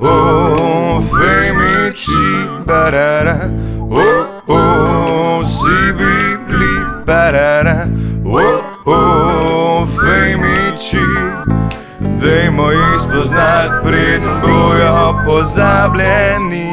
oh, femici, barara, oh, oh, si bibli, barara, oh, oh, femici. Dajmo jih spoznati, preden bojo pozabljeni.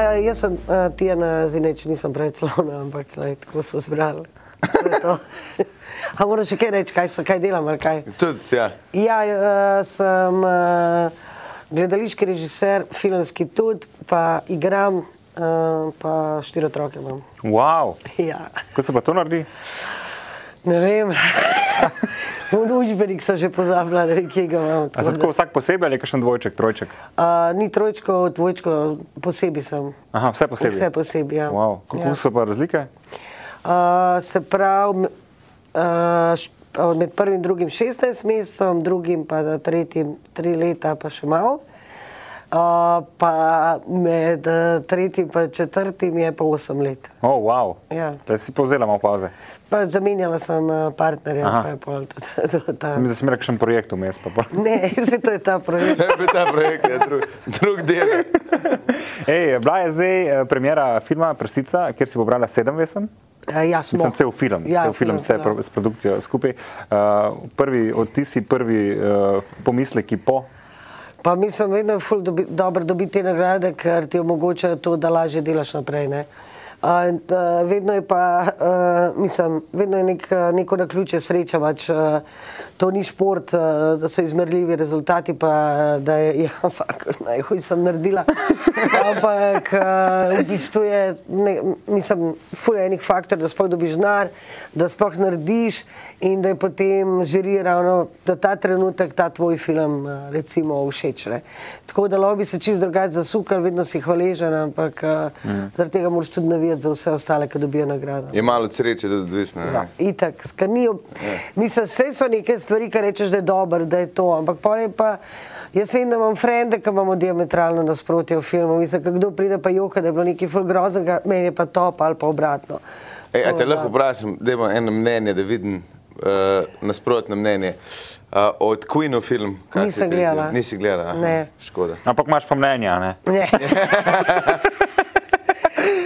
Ja, jaz sem uh, Tijana Zineč, nisem preveč slovna, ampak lej, tako so zbrali. To je to. A moraš še kaj reči, kaj, sem, kaj delam ali kaj? Tudi, ja. Ja, uh, sem uh, gledališki režiser, filmski tudi, pa igram, uh, pa štiri otroke imam. Wow. Ja, Kako se pa to naredi? ne vem. V učbenik sem že pozabila, ne vem, kje ga imam. A se tako tako vsak posebej ali je kakšen dvojček, trojček? Uh, ni trojčko, dvojčko, posebej sem. Aha, vse posebej. Vse posebej. Ja. Wow. Kako ja. so pa razlike? Uh, se pravi, m- uh, š- uh, med prvim in drugim 16 mestom, drugim pa za tretjim 3 leta, pa še malo. Uh, pa med uh, tretjim in četrtim je pa 8 let. Oh, wow. Ja. Zdaj si povzela malo pauze. Pa zamenjala sem uh, partnerja, Aha. pa je pol tudi to- ta. Sem mislil, da sem imel kakšen projekt vmes. pa pol. Ne, se to je ta projekt. To je bil ta projekt, ja, drug, drug del. Ej, bila je zdaj eh, premjera filma Prsica, kjer si pobrala sedem vesem. Uh, ja, smo. Mislim, cel film, Ja, ja, cel film ste pro, s produkcijo skupaj. Uh, prvi odtisi, prvi uh, pomisleki po. Pa mislim, vedno je ful dobi, dobro dobiti te nagrade, ker ti omogočajo to, da lažje delaš naprej. Ne? Uh, in, uh, vedno je pa, uh, mislim, vedno je nek, uh, neko na ključe sreča, pač, uh, to ni šport, uh, da so izmerljivi rezultati, pa uh, da je, ja, fakt, najhuj sem naredila. Ampak uh, v bistvu je, ne, mislim, fulje enih faktorjev, da sploh dobiš denar, da sploh narediš in da je potem žiri ravno do ta trenutek ta tvoj film eh, recimo všeč. Ne? Tako da lobby se čist drugače zasukal, vedno si hvaležen, ampak mm. zaradi tega moraš tudi navijati za vse ostale, ki dobijo nagrado. Je malo sreče, da je odvisno. ne? Ja, itak, ker ni, ob- mislim, vse so neke stvari, ki rečeš, da je dobro, da je to, ampak pol je pa, jaz vem, da imam frende, ki imamo diametralno nasprotje v filmu, mislim, ko kdo pride pa joka, da je bilo nekaj ful groznega, meni je pa top ali pa obratno. Ej, E, a Tako te da- lahko vprašam, da imam eno mnenje, da vidim uh, nasprotno mnenje. Uh, od Queenu film, kaj se Nisem ti zdi? gledala. Nisi gledala? aha, Ne. Škoda. Ampak imaš pa mnenja, ne?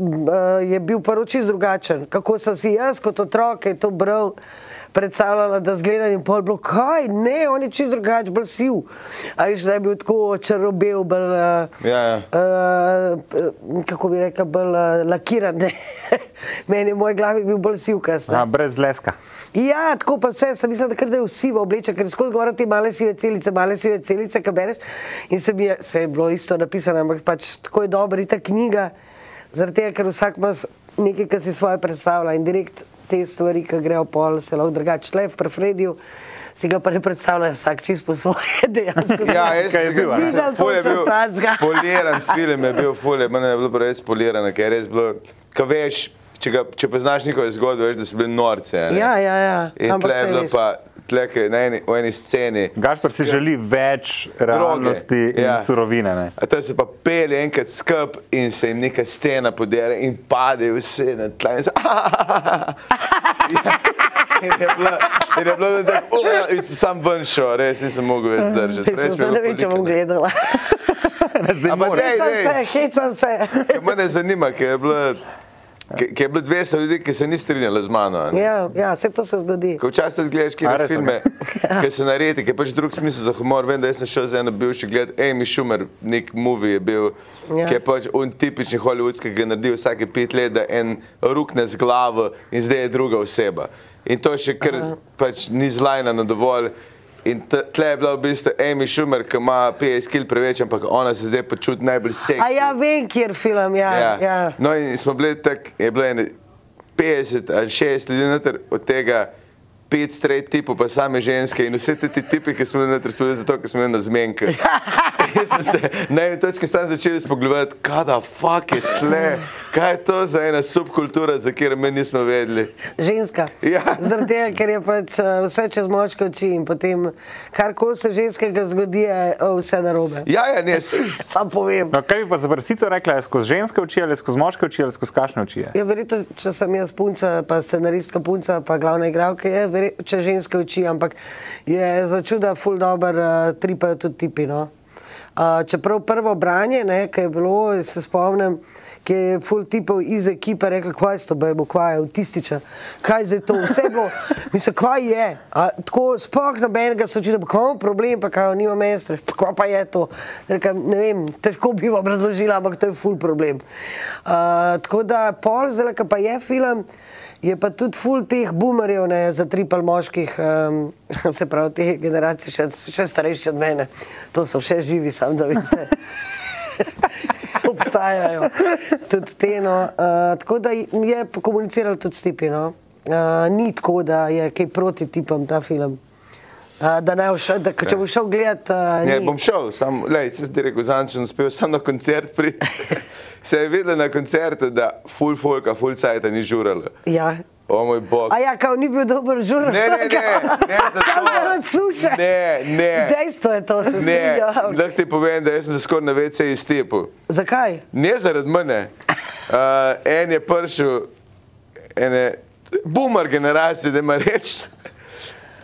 uh, je bil prvič čist drugačen. Kako sem si jaz kot otrok, ki je to bral, predstavljala, da zgledam in pol bilo, kaj, ne, on je čist drugačen, bolj siv. A je že bil tako črobel, bolj. Uh, Ja, ja. Uh, kako bi rekel, bolj uh, lakiran. ne. Meni je moj glavni bil bolj sivkast. ne. Ja. A, brez leska. Ja, tako pa vse, sem mislila, da, kar da je vsi v oblečenih, ker skozi govorijo te male sive celice, male sive celice, ki bereš. In se mi je, se je bilo isto napisano, ampak pač tako je dobra ta knjiga, zaradi tega, ker vsak ima s- nekaj, kar si svoje predstavlja in direkt te stvari, ki grejo pol, se lahko drugače le v prefredju. Si ga pa ne predstavlja vsak čist po svoje, dejansko. Ja, jaz Kaj je sem ga bil, a ne? videl, Videl ful je točno bil takega. spoliran film, je bil ful, je- mene je bilo pa res spolirano, ker je res bilo, ka veš, če, ga, če poznaš njihove zgodbe, veš, da so bili norce. a ne. Ja, ja, ja. In ampak tle je saj bilo veš. pa, tle, ke na eni, v eni sceni. Gašpor si želi več realnosti in ja. surovine. Ne? A tam se pa pele enkrat skup in se jim neka stena podere in padejo vse na tla. In, se, "Ah, in je bilo, in je bilo tako, "Oh," in sem sam ven šel, res nisem mogel več zdržati. Jaz Res mi je sem ne bilo vem, če bom polikano. gledala. Ampak dej, Hecam dej. se, hecam se. Ker Mene zanima, ker je bilo, ker- ker je bilo 200 ljudi, ki se ni strinjali z mano. a ne. Ja, ja, vse to se zgodi. Ko včasih gledaš A, kine res, filme, ki se naredi, ki je pač drug smisel za humor. Vem, da jaz sem šel za eno bivši gled, Amy Schumer, nek movie je bil, Ja. ja. ki je pač un tipični holivudski, ki ga naredi vsake pet let, da en rukne z glavo in zdaj je druga oseba. In to še kar pač ni zlajnano dovolj. In t- tle je bila v bistvu Amy Schumer, ki ima 50 kg preveč, ampak ona se zdaj počuti najbolj seksi. A ja, vem, kjer film, ja. ja. ja. No, in smo bili tako, je bilo ene 50 ali 60 ljudi, noter, od tega pet straight tipov, pa same ženske in vse te, te tipe, ki smo bili na razpolago, zato ker smo bili na zmenku. In sem se na eni točki sam začeli spogledovati, kaj da fuck je tle, kaj je to za ena subkultura, za katero mi nismo vedeli. Ženska. Ja. Zaradi tega, ker je pač eh, vse čez moške oči in potem karkoli se ženskega zgodi, je eh, vse narobe. Ja, ja, ne, se, Sam povem. No, kaj bi pa za vrstico rekla, je skozi ženske oči ali skozi moške oči ali skozi kašne oči? je? Ja, verjetno, če sem jaz punca, pa scenaristka punca, pa glavna igralka, je verjetno, če ženske oči, ampak je za čuda ful dobr, uh, tripajo tudi tipi. No? Uh, čeprav prvo branje, ki je bilo, se spomnim, ki je ful tipov iz ekipe rekel, kaj je to, bejbo, kaj je avtističa, kaj je to, vse bo, mislim, kaj je. A, tako spoh nobenega so očitno, kako imamo problem, pa kaj nima mestre, pa kaj pa je to. Rekem, ne vem, težko bi vam razložila, ampak to je ful problem. Uh, tako da pol, zdaj ko pa je film, je pa tudi ful teh boomerjev, ne, za tripal moških, um, se pravi te generacije, še, še starejše od mene, to so še živi, sam da veste. Obstajajo tudi te. No. Uh, tako da je komuniciral tudi s tipi. No. Uh, ni tako, da je kaj proti tipom ta film. Uh, da ne boš, da če boš šel gledat, uh, Ja. ne, ni. bom šel, sam, lej, se zdaj rekel, zanj sem uspel sam na koncert priti. Se je videlo na koncertu, da full folka, full cajta ni žuralo. Ja. O moj bog. A ja, kao ni bil dober žurnal. Ne, ne, ne, ne zato. Samo zaradi suše. Ne, ne. Dejstvo je to, se Ne, strinjam. lahko ti povem, da jaz sem se skoraj na vece iztepil. Zakaj? Ne zaradi mene. Uh, en je prišel, ene boomer generacije, da ima reči,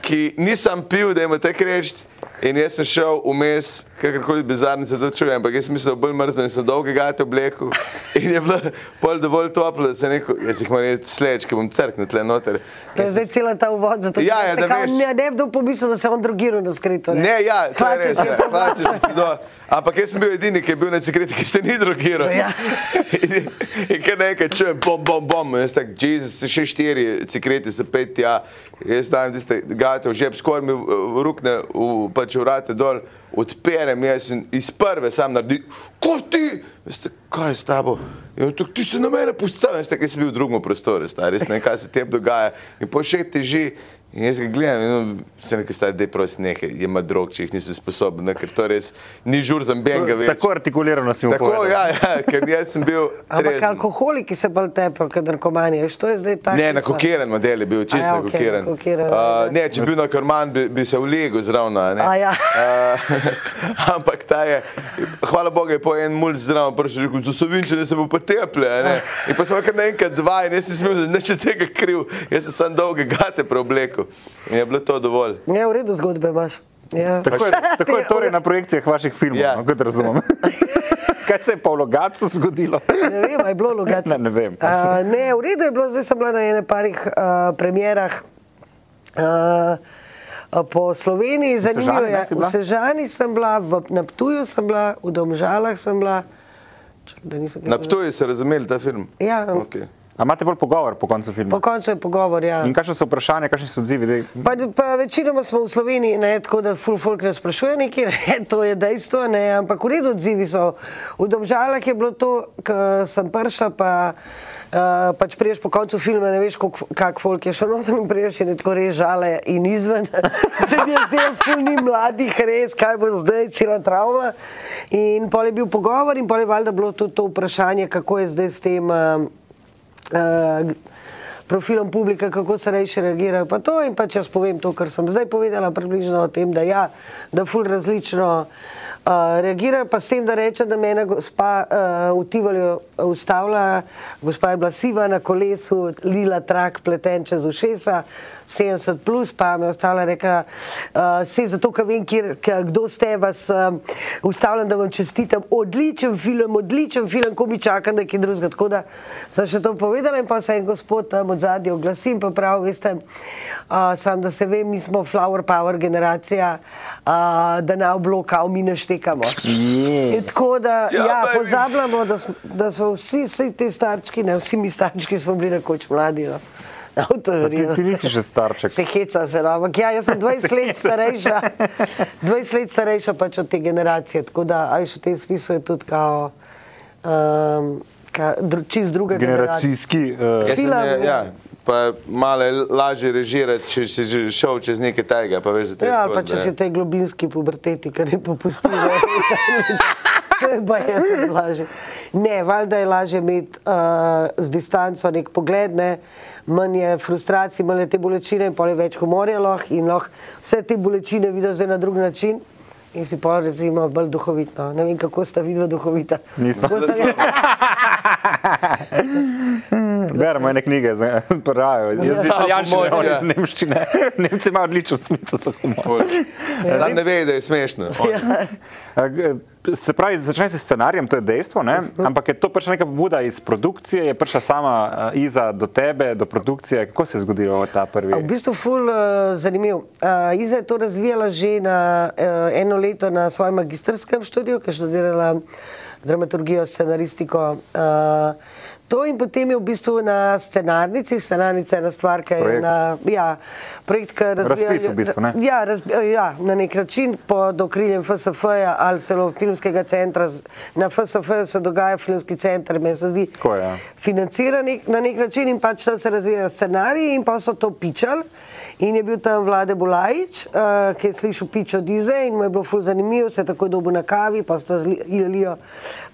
ki nisem pil, da ima tako reči. In jaz sem šel vmes, kakorkoli bizarno se to čuje, ampak jaz mislim, da bolj mrzlo in sem dolge gate oblekel. In je bilo pol dovolj toplo, da sem rekel, jaz jih moram reči sleč, ki bom crknil tle noter. To je Jaz zdaj cela ta uvod, zato Ja, ja, se da kao veš. ne, ne bi kdo pomislil, da se je on drogiral na skrito. Ne, ja, to je Hlače res. si je ja, pobral. Hlače si do. Ampak jaz sem bil edini, ki je bil na cigareti, ki se ni drogiral. Ja. In, in kar nekaj čujem, bom, bom, bom. Jaz tak, Jezus, še štiri cigareti, se pet, ja. Jaz dajem tiste gate v žep, skoraj mi v- v rukne, v, pač urate dol, odperem jaz in iz prve sam naredim, ko ti, Jaz tak, kaj je s tabo? In on tako, ti si na mene pustil, jaz tak, jaz sem bil v drugem prostoru, star, res ne vem, kaj se tebi dogaja. In po še teži, In jaz ga gledam, in on se nekaj stane, da je prosti nekaj, ima drog, če jih nisem sposoben, ne, ker to res ni žur za benga več. Tako artikulirano si mu Tako, ja, povedal. ja, ker jaz sem bil. Ampak trezen. alkoholiki se bolj tepejo, kot narkomani. veš, To je zdaj tako. Ne, na kokiran model je bil, čisto Aja, na ja, okej, kokiran. nakokiran, Uh, ajde. ne, če bi bil na karman, bi, bi se vlegel zraven. a ne. A ja. Uh, ampak ta je, hvala Bogu, je po en mulj zraven prišel in rekel, to so vinčene, se bo poteple. a ne." In pa smo kar naenkrat dva in jaz nisem imel nič od tega kriv, jaz sem samo dolge gate preoblekel. In je bilo to dovolj. Ne, v redu zgodbe imaš. Ja. Tako je, tako je torej na projekcijah vaših filmov, Pač- Ja. ja. no, kot razumem. Kaj se je pa v Logacu zgodilo? Ne vem, ali je bilo lugače. Ne, ne vem. Uh, ne, v redu je bilo, zdaj sem bila na ene parih uh, premjerah. Uh, Po Sloveniji zanimivo Sežani, je ne, si zanimivo. V bila? Sežani sem bila, v, na Ptuju sem bila, v Domžalah sem bila. Čak, da nisem Na gledala. Ptuju ste razumeli ta film? Ja. Okay. A imate bolj pogovor po koncu filma? Po koncu je pogovor. Ja. In kakšne so vprašanja, kakšni so odzivi? Dej, Pa, pa večinoma smo v Sloveniji, ne, tako da ful folk ne sprašuje, nekaj, ne, to je dejstvo, ne, ampak v redu odzivi so. V Domžalah je bilo to, ko sem prišla, pa uh, pač priješ po koncu filma, ne veš, koliko- kak folk je šel noter in priješ in je tako res žale in izven. Se mi je zdelo, ful ni mladih, res, kaj bo zdaj, cela travma. In pol je bil pogovor in pol je valjda bilo tudi to vprašanje, kako je zdaj s tem. Uh, eh, profilom publike, kako se rejši reagirajo. Pa to in pa če jaz povem to, kar sem zdaj povedala, približno o tem, da ja, da ful različno uh, reagirajo, pa s tem, da reče, da me je ena gospa uh, v Tivolju ustavila, gospa je bila siva na kolesu, lila trak pleten čez ušesa, 70 plus, pa me je ustavila in rekla, uh, se zato, ker vem, kjer, k, kdo ste, vas um, ustavljam, da vam čestitam, odličen film, odličen film, ko mi čakam, da je kaj drugega. Tako da sem še to povedala in pa se en gospod tam od zadnje oglasi in pa prav, veste, uh, sam da se ve, mi smo flower power generacija, uh, da na oblokal mi ne štekamo. je. In tako da Ja, ja, ja, baby. pozabljamo, da smo, da smo vsi, vsi ti starčki, ne, vsi mi starčki smo bili nekoč mladi. No. Ti, ti nisi še starček. Se hecam, se no, ampak ja, jaz sem 20 let starejša, 20 let starejša pač od te generacije. Tako da, aj še v tem smislu je tudi kao, um, ka, dru, čist druga generacija. Generacijski. Uh, Jaz sem, Film. je, ja, pa je malo lažje režirati, če si že šel čez nekaj tega. Pa veš, za te Ja, ali pa zgodbe, če ne. si v tej globinski puberteti, kar je popustila. To je pa je to lažje. Ne, valjda je lažje imeti uh, z distanco nek pogled, ne? manj je frustracij, manj je te bolečine, in pol je več humorja lahko in lahko vse te bolečine vidiš zdaj na drug način. In si pa recimo bolj duhovitno. Ne vem, kako sta vidva duhovita. Nisva. Tako no, sem jaz- Beremo ene knjige, pravijo. Jaz sem Za italijančine, pomoč, oni ja. iz nemščine. Nemci imajo odlično smisel za humor. Sam ne ve, da je smešno. Ja. A, g- Se pravi, začne se s scenarijem, to je dejstvo, ne? Mhm. ampak je to prišla neka pobuda iz produkcije, je prišla sama a, Iza do tebe, do produkcije. Kako se je zgodilo ta prvi? A V bistvu ful uh, zanimiv. Uh, Iza je to razvijala že na, uh, eno leto na svojem magistrskem študiju, ki je študirala dramaturgijo, scenaristiko. Uh, to in potem je v bistvu na scenarnici, scenarnica je ena stvar, ki je Projekt. na ja, projekt, ki razvija. Razpis v bistvu, ne? Ja, raz, ja, na nek način pod okriljem FSF-ja ali celo filmskega centra. z- Na FSF-ju se dogaja filmski center, meni se zdi Tako je, ja. financira nek, na nek način in pač tam se razvijajo scenariji in pa so to pičali. In je bil tam vlade Bulajič, uh, ki je slišal pič od Ize in mu je bilo ful zanimivo, se je takoj dobil na kavi, pa sta z Li- Ilijo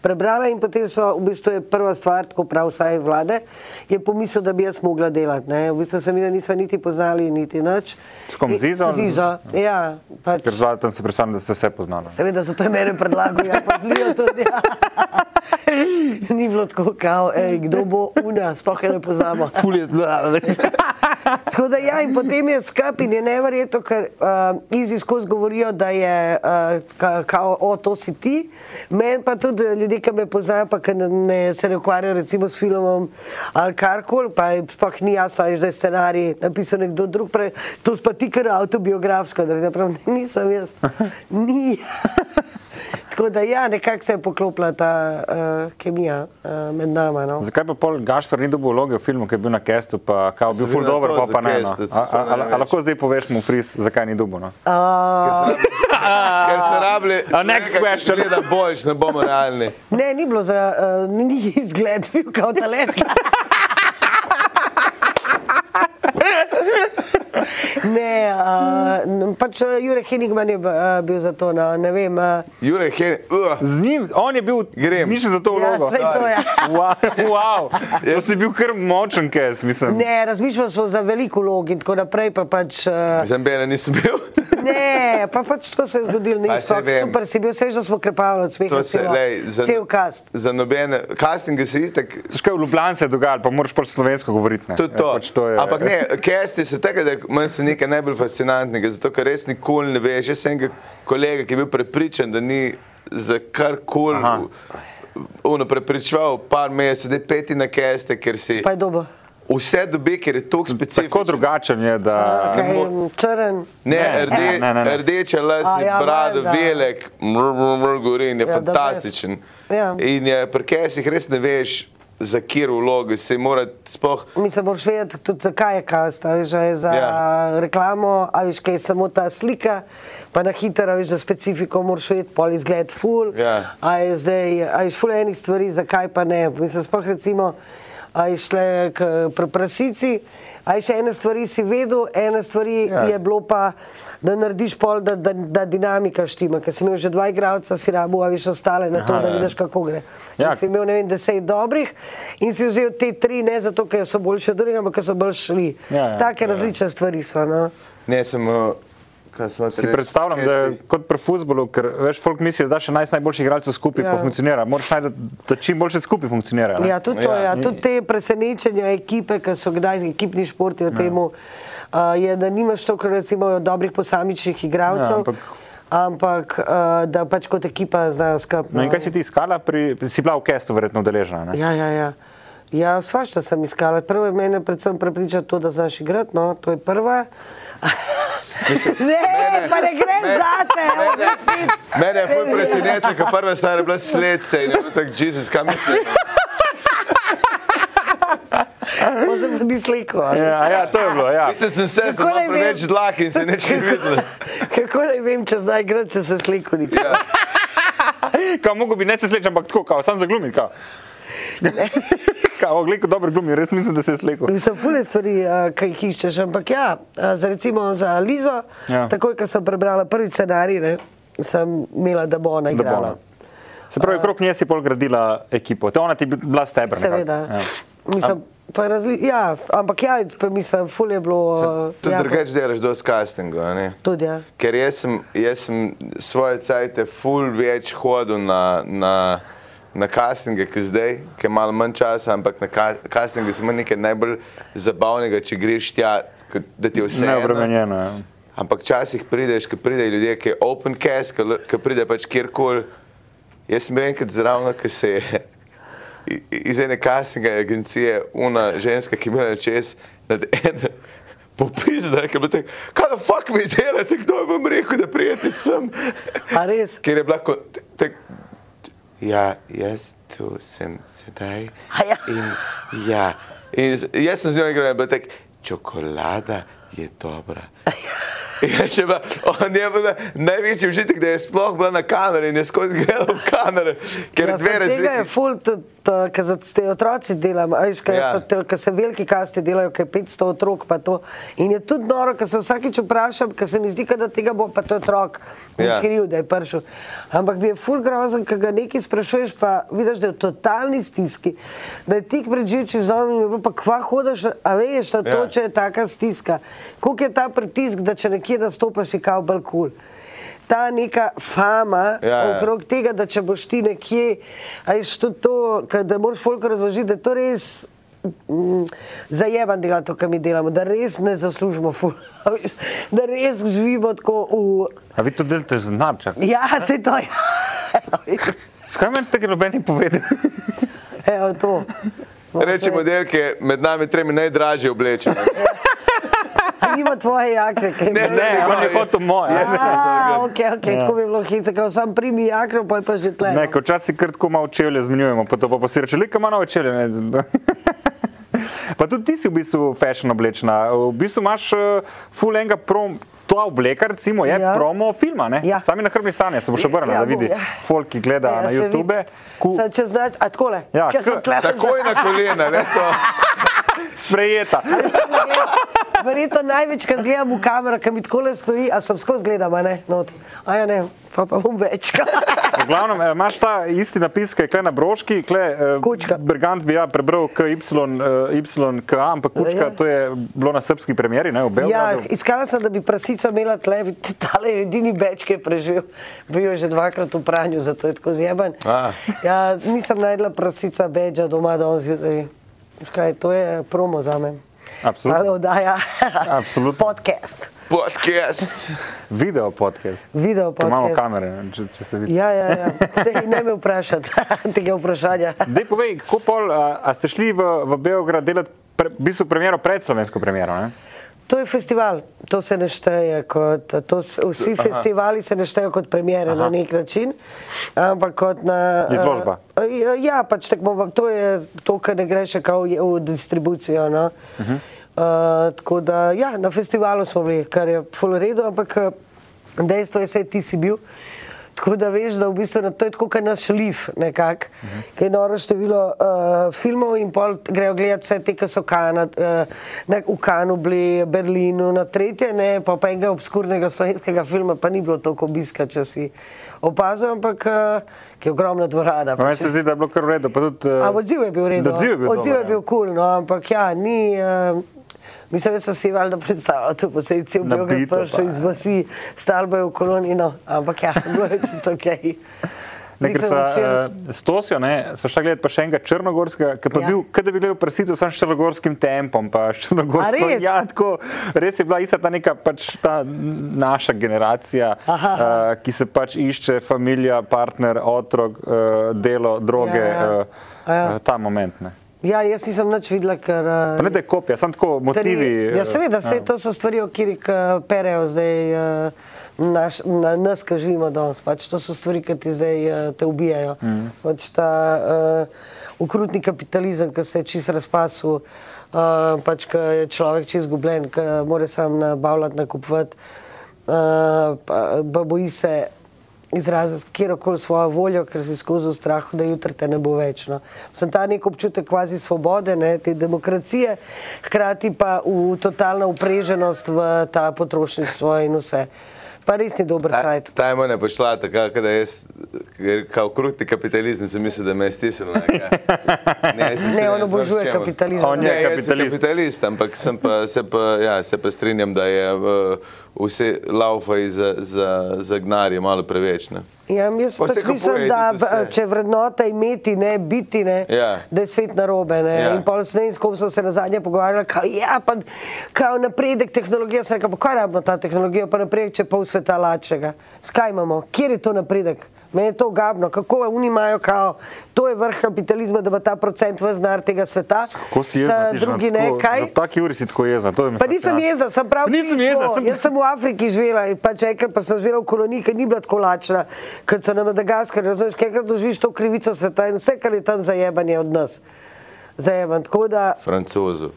prebrala in potem so, v bistvu je prva stvar, tako prav vsaj vlade, je pomislil, da bi jaz mogla delati. Ne? V bistvu se mi da nisva niti poznali, niti nič. S kom, z Izo? Z Izo, ja. Pač. Ker zvali tam se predstavljam, da ste se poznali. Seveda so to meni predlagali, ja, pa zlijo tudi. Ja. Ni bilo tako, kao, ej, kdo bo una, sploh je ne pozabo. Fulje, Tako da ja, in potem je skup in je neverjetno, ker uh, izi skozi govorijo, da je uh, ka, kao, o, to si ti. Meni pa tudi ljudje, ki me poznajo, pa ki ne, ne, se ne ukvarjajo recimo s filmom ali karkoli, pa je sploh ni jasno, a je zdaj scenarij napisal nekdo drug, prej, to si pa ti kar avtobiografsko, da pravim, nisem jaz. Ni. Tako da ja, nekako se je poklopila ta uh, kemija uh, med nama. No. Zakaj pa pol Gašpor ni dobil vloge v filmu, ki je bil na Kestu, pa kao, bil Seveda, ful dober, to pa za pa ne. no. Kest, da se A- a- spomnim a- A več. lahko zdaj poveš mu fris, zakaj ni dobil? No? Uh, Ker se rablje, A next question. da bojiš, ne bomo realni. Ne, ni bilo za, uh, ni- ni izgled, bil kot talent. ne, uh, pač eh, Jurek Henigman je uh, bil za to, no, ne vem. Uh, Jure, Hen, uh, Z njim, on je bil Grem. mišljen za to ja, vlogo. saj to je. Wow, wow. Ja. To si bil kar močen kes, mislim. Ne, razmišljali smo za veliko vlog in tako naprej, pa pač. Uh, zambene nisem bil. ne, pa pač tako se je zgodilo, ni Aj, saj iskal. vem. Super si bil, vse, da smo krepali od smeha. To se, celo- lej, za, Cel kast. Za nobene, casting se istek, Škaj v Ljubljani se je dogajalo, pa moraš pač slovensko govoriti. ne. tudi to. Pač to je, Ampak ne, kesti se tega, da meni se nekaj najbolj fascinantnega, zato ker res nikoli ne veš. Jaz sem enega kolega, ki je bil prepričan, da ni za kar Aha. koli. Uno prepričval, par mesecev, da je peti na keste, ker si Pa je dobo. vse dobi, ker je tako Tako specifičen. drugačen je, da Kaj, mo- črn. Ne, Ne, rde, ne, ne, ne. rdeče lase, A, ja, ja, brado, valjda. velik, mrgori in je Ja, ja, the best. fantastičen. Ja. In je, pri kesih res ne veš, za kjer vlogo se mora sploh. Mislim, moraš vedeti tudi, zakaj je kast, a veš, a je za Ja. ja. reklamo, a veš, kaj je samo ta slika, pa na hitro, a veš, za specifiko moraš vedeti, pol izgled ful, Ja. a je zdaj, a veš, ful enih stvari, zakaj pa ne. Mislim, sploh recimo, a je šle k pri prasici, a je še ene stvari si vedel, ene stvari Ja. ja. je bilo pa, da narediš pol, da, da, da dinamika štima, ker si imel že dva igralca, si rabu, a veš, ostale na to, Aha, Aha, da ja. vidiš, kako gre. Ja. Ja. Si imel ne vem, deset dobrih in si vzel te tri, ne zato, ker so boljše od drugih, ampak ker so bolj šli. Ja, ja, Ja, ja, Take ja. ja. različne stvari so. No? Ne, sem, eh, kaj sem Si predstavljam, da je kot pri futbolu, ker veš, folk misli, da daš 11 najboljših igralcev skupaj, Ja. pa funkcionira. Moraš najti, da čim boljše skupaj funkcionira. ne. Ja, tudi to, Ja. ja. tudi te presenečenja ekipe, ki so kdaj ekipni športi v ja. temu, uh, je, da nimaš to, kar recimo dobrih posamičnih igralcev. Ja, Ja, ampak- ampak Ampak uh, da pač kot ekipa znajo skupaj. No in kaj si ti iskala, pri, si bila v Kestu verjetno udeležena? ne? Ja, ja, ja. Ja, svašta sem iskala. Prvo je mene predvsem prepriča to, da znaš igrati, no, to je prva. ne, pa ne grem za te, evo ga spet. Mene je bolj presenetilo, ker prva stvar je bila sledce in je bilo tako, Jezus, kaj misliš? To se mi ni sliko. Ja, ja, to je bilo. Ja. Mislim, sem se, sem Kako naj imel preveč vem? dlak in se neče videl. Kako naj vem, če znaš igrati, če se sliko ni? Ja. Kao, mogo bi ne se slečem, ampak tako, kao, sam zaglumim. Kao. kao, gledaj, dobro glumi, res mislim, da se je slekel. Mislim, fule stvari, eh, ki jih iščeš, ampak ja, eh, za recimo za Lizo, ja. Ja. takoj, ko sem prebrala prvi scenarij, ne, sem imela, da bo ona Da bo igrala. ona. Se pravi, okrog nje si pol gradila ekipo, to ona ti je bila stebr. Seveda. Ja. Mislim, pa je razli, ja, ampak ja, pa mislim, ful je bilo. eh, Tudi ja, pa- drugače delaš dosti castingov, a ne? Tudi, ja. Ker jaz sem, jaz sem svoje cajte ful več hodil na, na, na castinge, ki zdaj, ki je malo manj časa, ampak na ka- castingu sem nekaj najbolj zabavnega, če greš tja, kot da ti je vse. Neobremenjeno. ja. Ampak včasih prideš, ki pridejo ljudje, ki je open cast, ki l- ki pride pač kjerkoli. Jaz sem bil enkrat zraven, ki se je i- iz ene casting agencije, una ženska, ki je imela čez, nad eno popizda, ki je bila tako, kaj da fuck mi delate, kdo je vam rekel, da prijete sem. A res? Ker je bila kot, tak, ja, jaz tu sem sedaj. A ja. In, ja. In z- jaz sem z njo igral in je bila tako, čokolada je dobra. Je še bila, on je bila največji užitek, da je sploh bila na kameri in je skozi gledala v kamere, ker Ja, ja, dve samo Tega je razlike. ful, ker za te otroci delam, a veš, ker Ja. ja. se veliki kasti delajo, ker je 500 otrok, pa to. In je tudi noro, ker se vsakič vprašam, ker se mi zdi, kot da tega bo pa to otrok ja. Ja. kriv, da je prišel. Ampak mi je ful grozen, ker ga nekaj sprašuješ, pa vidiš, da je v totalni stiski, da je tik pred živči zomom in je bilo pa kva hodaš, a veš, na to, Ja. če je taka stiska. Koliko je ta pritisk, da če nekje nastopaš, je kao bolj kul. Cool. Ta neka fama, Ja, ja. okrog okrog tega, da če boš ti nekje, a je to, to ka- da moraš folko razložiti, da je to res. mm, Zajeban delo, to, kar mi delamo, da res ne zaslužimo, ful, a veš, da res živimo tako v. A vi to delate z narča? Ja, se to je. Skaj meni tega noben ni povedal? Evo to. No, Reči model, ki je med nami tremi najdražje oblečen. A Nima tvoje jakne, kaj Ne, Ne, ne, on je ne. hotel moje. Ja. Ja, ok, ok, Ja. tako bi bilo hice, kot sam primi jakno, pa je pa že tle. no. Ne, ko včasih kar tako malo čevlje zmenjujemo, pa to pa si reče, le kam imamo čevlje. ne, z- Pa tudi ti si v bistvu fashion oblečena. V bistvu imaš eh, full enga prom. To obleka, recimo, je Ja. ja. promo filma. ne? Ja. Sami na krvni stanje se boš obrnil, Ja, ja, da bom, vidi ja. folk, ki gleda ja, na se vidi. YouTube. Ku, Samo Če znaš, a takole, Ja, ker sem k- tlepen za- Takoj na kolena, ne to. sprejeta. Verjetno največkrat gledam v kamero, ki mi tako le stoji, a sem skozi gledam, a ne, not. A ja ne, pa, pa bom več. V glavnem, eh, imaš ta isti napis, ki je kle na broški, kle, eh, Kučka. Bergant bi ja prebral eh, KYK, ampak Ja. kučka, to je bilo na srpski premjeri, ne v Ja, Belgradu. iskala sem, da bi prasico imela tle, tale je edini beč, ki je preživel. Bil je že dvakrat v pranju, zato je tako zjeben. A. Ja, nisem najdla prasica beča doma, da on zjutraj. Veš Kaj, to je promo za me. Absolutno. Tale oddaja. Absolutno. Podcast. Podcast. Video podcast. Video Ker Imamo podcast. kamere, ne, če, če se vidi. Ja, ja, ja. Sej, ne me vprašati tega vprašanja. Dej, povej, kako pol, a, a ste šli v, v Beograd delati pre, v bistvu premjero pred slovensko premjero? Ne? To je festival, to se ne šteje kot. To, s- vsi Aha. festivali se ne štejejo kot premjere Aha. na nek način, ampak kot na. eh, Izložba. ja, Ja, pač tekmo, to je to, kar ne gre še kao je- v distribucijo. No? Uh -huh. uh, tako da, ja, na festivalu smo bili, kar je fuloredo, ampak eh, dejstvo je, da ti si bil. Tako da veš, da v bistvu na to je tako, kot naš liv, nekako, uh -huh. ki je noro število uh, filmov in pol grejo gledati vse te, ki so kana, uh, na, v Kanu, bili, Berlinu, na tretje, ne, pa, pa enega obskurnega slovenskega filma, pa ni bilo toliko obiska, če si opazil, ampak uh, ki je ogromna dvorana. Meni se zdi, da je bilo kar v redu. pa Tudi, eh, A, odziv je bil reden. Odziv je bil, odziv je dober, ja. bil kul, cool, no, ampak ja, ni. Uh, Mislim, da so si valjda predstavljali, da bo se je cel Nabito Beograd pa. prišel iz vasi, stalbo je v koloni, no, ampak ja, bilo je čisto ok. Ne, ker Nisem sva, včeraj- eh, s Tosijo, ne, sva šla gledati pa še enega črnogorskega, ki pa Ja. ja. bil, kot da bi gledal prsico sam s črnogorskim tempom, pa s črnogorskim. A res? Ja, tako, res je bila ista ta neka pač ta naša generacija, Aha, aha. uh, ki se pač išče, familija, partner, otrok, uh, delo, droge, Ja, ja. ja, ja. Ja. Uh, ta moment. Ne. Ja, jaz nisem nič videla, ker. eh, Pa ne da je kopija, samo tako motivi. Tri, ja, eh, seveda, vse to so stvari, o katerih perejo zdaj eh, naš, na nas, ki živimo danes. Pač to so stvari, ki ti zdaj eh, te ubijajo. Mm. Pač ta uh, ukrutni kapitalizem, ki se je čist razpasil, uh, pač ki je človek čist izgubljen, ki eh, mora sam nabavljati, nakupovati, uh, pa, pa boji se izraziti kjerkoli svojo voljo, ker si skozi v strahu, da jutri te ne bo več. No. Sem ta nek občutek kvazi svobode, ne, te demokracije, hkrati pa v totalna upreženost v ta potrošništvo in vse. Pa res ni dober cajt. Ta je mene pošla tako, da jaz, ker kao krutni kapitalizem, sem mislil, da me je stisnil. Ne, jaz se Ne, strinjam on z obožuje marsičem. kapitalizem. On je Ne, jaz sem kapitalist. kapitalist, ampak sem pa, se, pa, ja, se pa strinjam, da je uh, vse laufa iz za, za gnarje malo preveč. Ne? Ja, jaz Pa pa se pač kupuje mislim, tudi da vse. b- če je vrednota imeti, ne biti, ne, Ja. da je svet narobe. Ne. Ja. In pol s ne, s kom sem se na zadnje pogovarjala, kao, ja, pa kao napredek tehnologije, sem rekel, pa kaj rabimo ta tehnologija, pa napredek, če je pol sveta lačega. Skaj imamo, kjer je to napredek? Meni je to gabno, kako oni imajo, kao, to je vrh kapitalizma, da bo ta procent vznar tega sveta. Ko si ta jezen, drugi ne, kaj? V taki uri si tako jezen. to je mi pač, ja. Pa nisem fascinantno. jezna, sem prav Nisem prišla. jezna, sem- Jaz sem v Afriki živela in pač enkrat pa sem živela v koloniji, ki ni bila tako lačna, kot so na Madagaskarju. Razumeš, kaj enkrat doživiš to krivico sveta in vse, kar je tam zajebanje od nas. Zajeban. Tako da Francozov.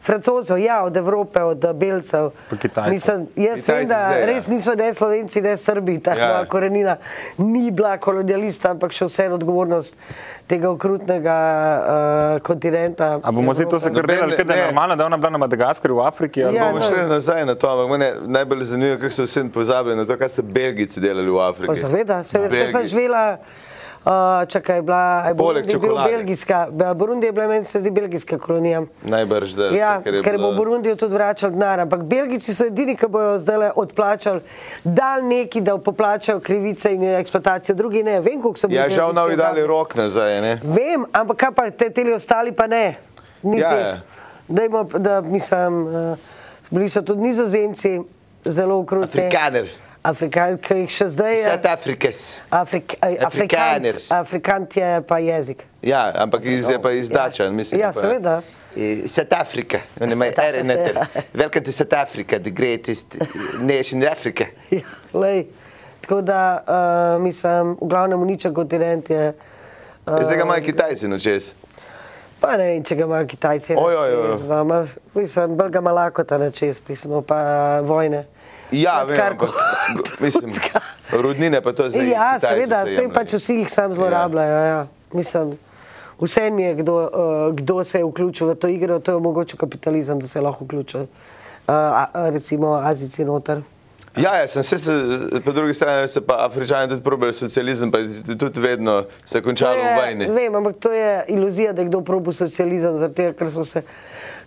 francozov, ja, od Evrope, od eh, belcev. Pa Kitajcev. Mislim, jaz Kitajci vem, da zdaj, ja. res niso ne slovenci, ne srbi, ta Ja. ja. korenina ni bila kolonialista, ampak še vseeno odgovornost tega okrutnega uh, kontinenta. A bomo zdaj to se Evrope. kar Ja, no, Noben delali, ne- ker da je ne. normalno, da je ona bila na Madagaskarju, v Afriki. ali Ja, bomo Bomo no. šli nazaj na to, ampak mene najbolj zanima, kako so vsi pozabili na to, kaj so Belgijci delali v Pa Afriki. Seveda, seveda se sem Belgij- živela. Uh, čakaj, je bila je Poleg Burundi je bil čokolade. belgijska, Be- Burundi je bila meni se zdi belgijska kolonija. Najbrž da. Ja, vse, ker, ker bo bilo- Burundijo tudi vračal denar, ampak Belgijci so edini, ki bojo zdaj odplačali, dal neki, da poplačajo krivice in eksploatacijo, drugi ne. Vem, koliko so bili. Ja, žal nam Belgijci je dali oddaljeni. rok nazaj. Ne? Vem, ampak kaj pa te teli ostali, pa ne. Ni Ja, te. ja. Dajmo, da, mislim, eh, bili so tudi nizozemci zelo ukrutni. Afrikaner. Afrikan, ki jih še zdaj je. South Africans. Afrik, eh, Afrikaners. Afrikaners. Afrikant je pa jezik. Ja, ampak iz, je pa iz Dača, mislim. No, Ja, pa, seveda. South Africa, oni imajo South Eren Africa. ja. Eter. Welcome to South Africa, the greatest nation in Africa. Ja, lej. Tako da uh, mislim, v glavnem uničen kontinent je. eh, Zdaj ga imajo Kitajci na čez. Pa ne vem, če ga imajo Kitajci. Oj, oj, oj. Znamo, mislim, bolj ga ima lakota na čez, pismo pa eh, vojne. Ja, vem, Odkar ampak, ko- mislim, Turska. rudnine pa to zdaj Ja, Kitajci seveda, vse vse jemljejo. pač vsi jih sam zlorabljajo. Ja. Ja. Mislim, vse jim je, kdo, uh, kdo se je vključil v to igro, to je omogočil kapitalizem, da se lahko vključijo. Uh, a- a recimo Azici noter. Ja, ja, sem se, se, po drugi strani so pa Afričani tudi probali socializem, pa je tudi vedno se To končalo v vojni. Je, vem, ampak to je iluzija, da je kdo probu socializem, zaradi tega, ker, so se,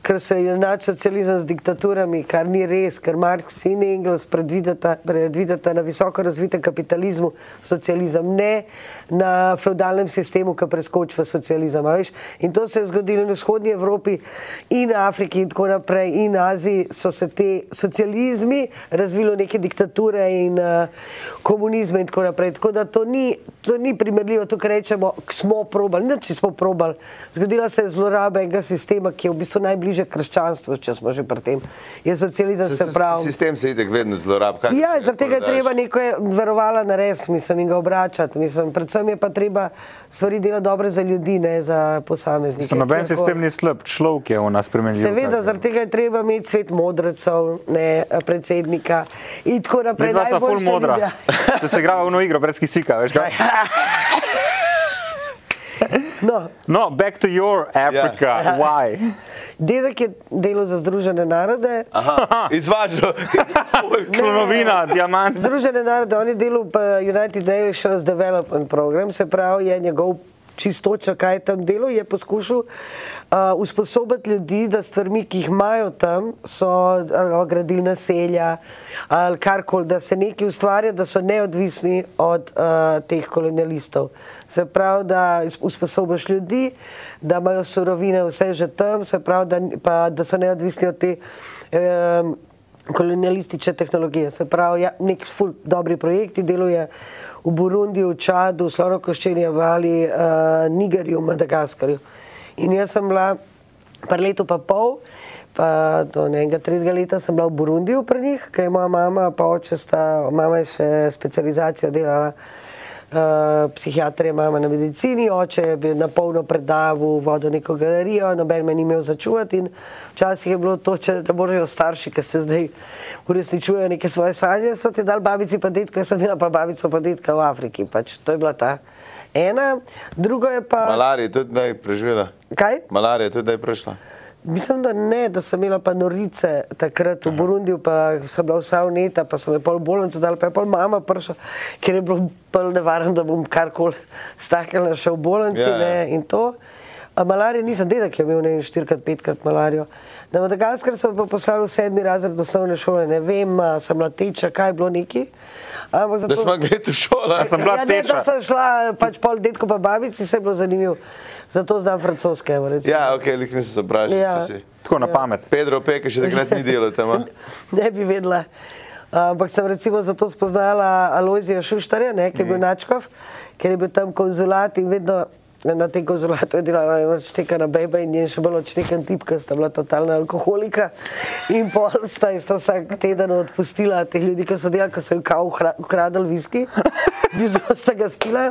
ker se je enačil socializem z diktaturami, kar ni res, ker Marx in Engels predvideta, predvideta na visoko razvitem kapitalizmu socializem, ne na feudalnem sistemu, ki preskoči v socializem. a veš. In to se je zgodilo in v vzhodnji Evropi in Afriki in tako naprej in Aziji so se te socializmi razvili v neke diktature in uh, komunizme in tako naprej. Tako da to ni, to ni primerljivo, to kar rečemo, k- smo probali, ne če smo probali. Zgodila se je zloraba enega sistema, ki je v bistvu najbližje krščanstvu, če smo že pri tem. Je socializem S- se s- pravi. Sistem se itek vedno zlorab. kaj Ja, ga zaradi tega je prodaš? treba neko verovala na res, mislim, in ga obračati. Mislim, predvsem je pa treba stvari delati dobre za ljudi, ne za posameznike. Mislim, Noben kjerkoli. sistem ni slab, človek je v nas spremenil. Seveda, zaradi tega je treba imeti svet modrecev, ne eh, predsednika in tako naprej. Predvsej Najbolj ful se modra. vidi, ja. Če se igrava v eno igro, brez kisika, veš kaj? No, No, back to your Ja. Africa, why? dedek je delal za Združene narode. Aha, izvažal. Slonovina, diamant. Združene narode, on je delal v United Nations Development Program, se pravi, je njegov čistoča, kaj je tam delo, je poskušal uh, usposobiti ljudi, da stvarmi, ki jih imajo tam, so ali gradilna selja ali karkoli, da se nekaj ustvarja, da so neodvisni od uh, teh kolonialistov. Se pravi, da is- usposobiš ljudi, da imajo surovine vse že tam, se pravi, da, ni- pa, da so neodvisni od te um, kolonialistične tehnologije. Se pravi, ja, nek ful dobri projekti deluje v Burundiju, v Čadu, v Slonokoščini, v Vali, uh, Nigerju, Madagaskarju. In jaz sem bila par leto pa pol, pa do enega tretjega leta sem bila v Burundiju pri njih, ker je moja mama, pa oče sta, mama je še specializacijo delala Uh, psihiatra je mama na medicini, oče je bil na polno predavu, vodil neko galerijo, noben me ni imel začuvati. in Včasih je bilo to, če, da morajo starši, ki se zdaj uresničujejo neke svoje sanje, so ti dali babici pa detko, jaz sem bila pa babico pa detka v Afriki. Pač. To je bila ta ena. Drugo je pa. Malarija je tudi naj preživela. Kaj? Malarija je tudi naj prišla. Mislim, da ne, da sem imela pa norice takrat v Burundiju, pa sem bila vsa uneta, pa so me pol bolnico dali, pa je pol mama prišla, ker je bilo pol nevarno, da bom karkoli staknila še v bolnici Ja, ja. yeah. ne, in to. A malarije nisem, dedek je imel ne vem, štirikrat, petkrat malarijo. Na Madagaskar so me pa poslali v sedmi razred osnovne šole, ne vem, a sem bila teča, kaj je bilo neki. Ampak Da zato- smo gledali v šolo. Ja, sem bila ja, ne, da teča. sem šla pač pol detko pa babici, se je bilo zanimivo. Zato znam francoske. evo, recimo. Ja, ok, lih nisem se vprašal, Ja. če si. Tako na pamet. Pedro Peke še takrat ni delal tam. ne bi vedela. Ampak sem recimo zato spoznala Aloizija Šuštarja, ne, ki je bil Načkov, ker je bil tam konzulat in vedno na tem konzulatu je delala odštekana beba in njen še bolj odštekan tip, ker sta bila totalna alkoholika. In pol sta, sta vsak teden odpustila te ljudi, ki so delali, ki so jim kao ukra- ukradli viski. Vizo sta ga spila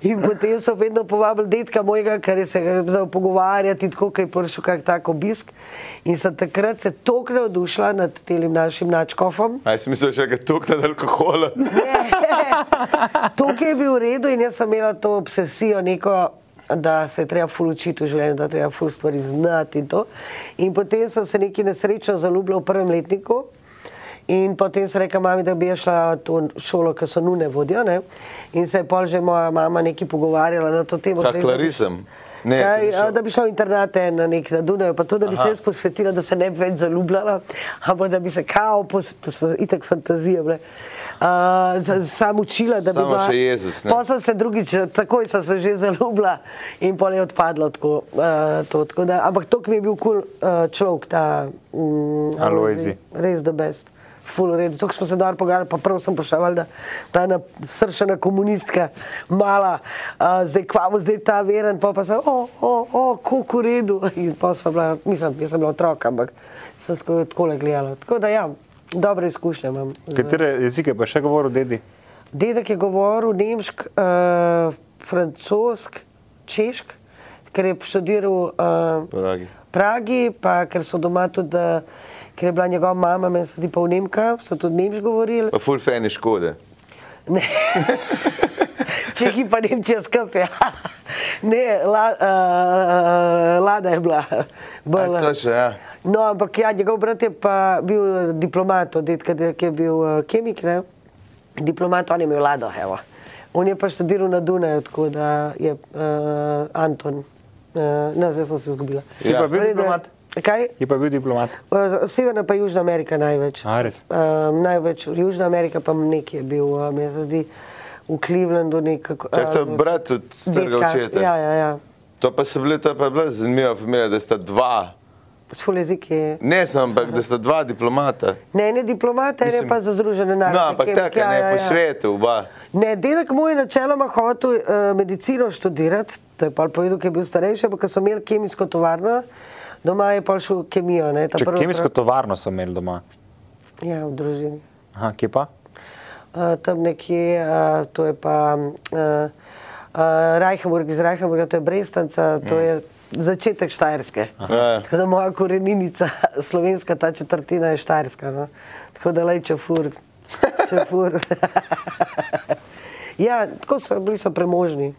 in potem so vedno povabili detka mojega, ker je se ga začel pogovarjati, tako kot je prišel kak tak obisk. In sem takrat se toliko navdušila nad tem našim načkofom. Aj si mislil, da je tukaj nad alkohola. Tukaj je bil v redu in jaz sem imela to obsesijo neko. Da se je treba fulučiti v življenju, da je treba ful stvari znati. In, to. in potem sem se neki nesrečo zaljubila v prvem letniku. In potem sem rekla mami, da bi jaz šla v to šolo, ki so nune vodijo. Ne? In se je pol že moja mama nekaj pogovarjala na to temo. zdaj Kak sem- larisem. Ne, Kaj, ti bi šel. a, da bi šla v internate na nek na Dunaju, pa to, da bi Aha. se jaz posvetila, da se ne bi več zaljubljala, ampak da bi se kao, pos- to so itak fantazije, bile, uh, sam učila, da bi Samo bila. še Jezus, ne. Pol sem se drugič, takoj sem se že zaljubila in pol je odpadlo tako. Uh, to, tako da, ampak to, ki mi je bil kul cool, uh, človek, ta um, Alojzij. res the best. Ful redu. Tako smo se dobro pogovarjali, pa prvo sem pošalval, da ta na, srčana komunistka, mala, a, zdaj kvavo, zdaj ta veren, pa pa sem, o, o, o kako v redu. In pa sem bila, mislim, jaz sem bila otrok, ampak sem skozi tako gledala. Tako da ja, dobre izkušnje imam. z- Katere jezike pa še govoril, dedi? Dedek je govoril nemšk, uh, francosk, češk, ker je študiral uh, Pragi. Pragi, pa ker so doma tudi, eh, ker je bila njegova mama, meni se zdi pa v Nemka, so tudi nemško govorili. Pa full feni škode. Ne. Čehi pa Nemčija skupaj. Ja. Ne, la, uh, Lada je bila. bolj- A, točno, ja. No, ampak ja, njegov brat je pa bil eh, diplomat, od detka, ki je bil uh, kemik, ne? diplomat, on je imel lado, evo. On je pa študiral na Dunaju, tako da je uh, Anton, uh, ne, zdaj sem se izgubila. Si Ja. pa bil Torej, da- diplomat? Kaj? Je pa bil diplomat. Eh, Severna pa Južna Amerika največ. A, res? Um, največ Južna Amerika pa nekje je bil, eh, mi se zdi, v Clevelandu nekako. Čak, to je eh, brat od strga dedka. očeta. Ja, ja, ja. To pa so bile, to pa je bila zanimiva familija, da sta dva. Fulezik je. Ne samo, ampak da sta dva diplomata. Ne, ne diplomat, ne Mislim- pa za združene narode. No, ampak kemik, tako, ne po svetu, oba. ja. Ne, dedek moj je načeloma hotel uh, medicino študirati, to je pol povedal, ker je bil starejši, ampak ko so imeli kemijsko tovarno, doma je pol šel kemijo. Ne, ta Če prvi kemijsko otrok- tovarno so imeli doma. Ja, v družini. Aha, kje pa? Eh, tam nekje, eh, to je pa uh, uh, Reichenburg iz Reichenburga, to je Brestanca, Mm. to je začetek Štajerske. Ja. Tako da moja korenica, slovenska ta četrtina je Štajerska. No? Tako da le če fur, če fur. ja, tako so bili so premožni.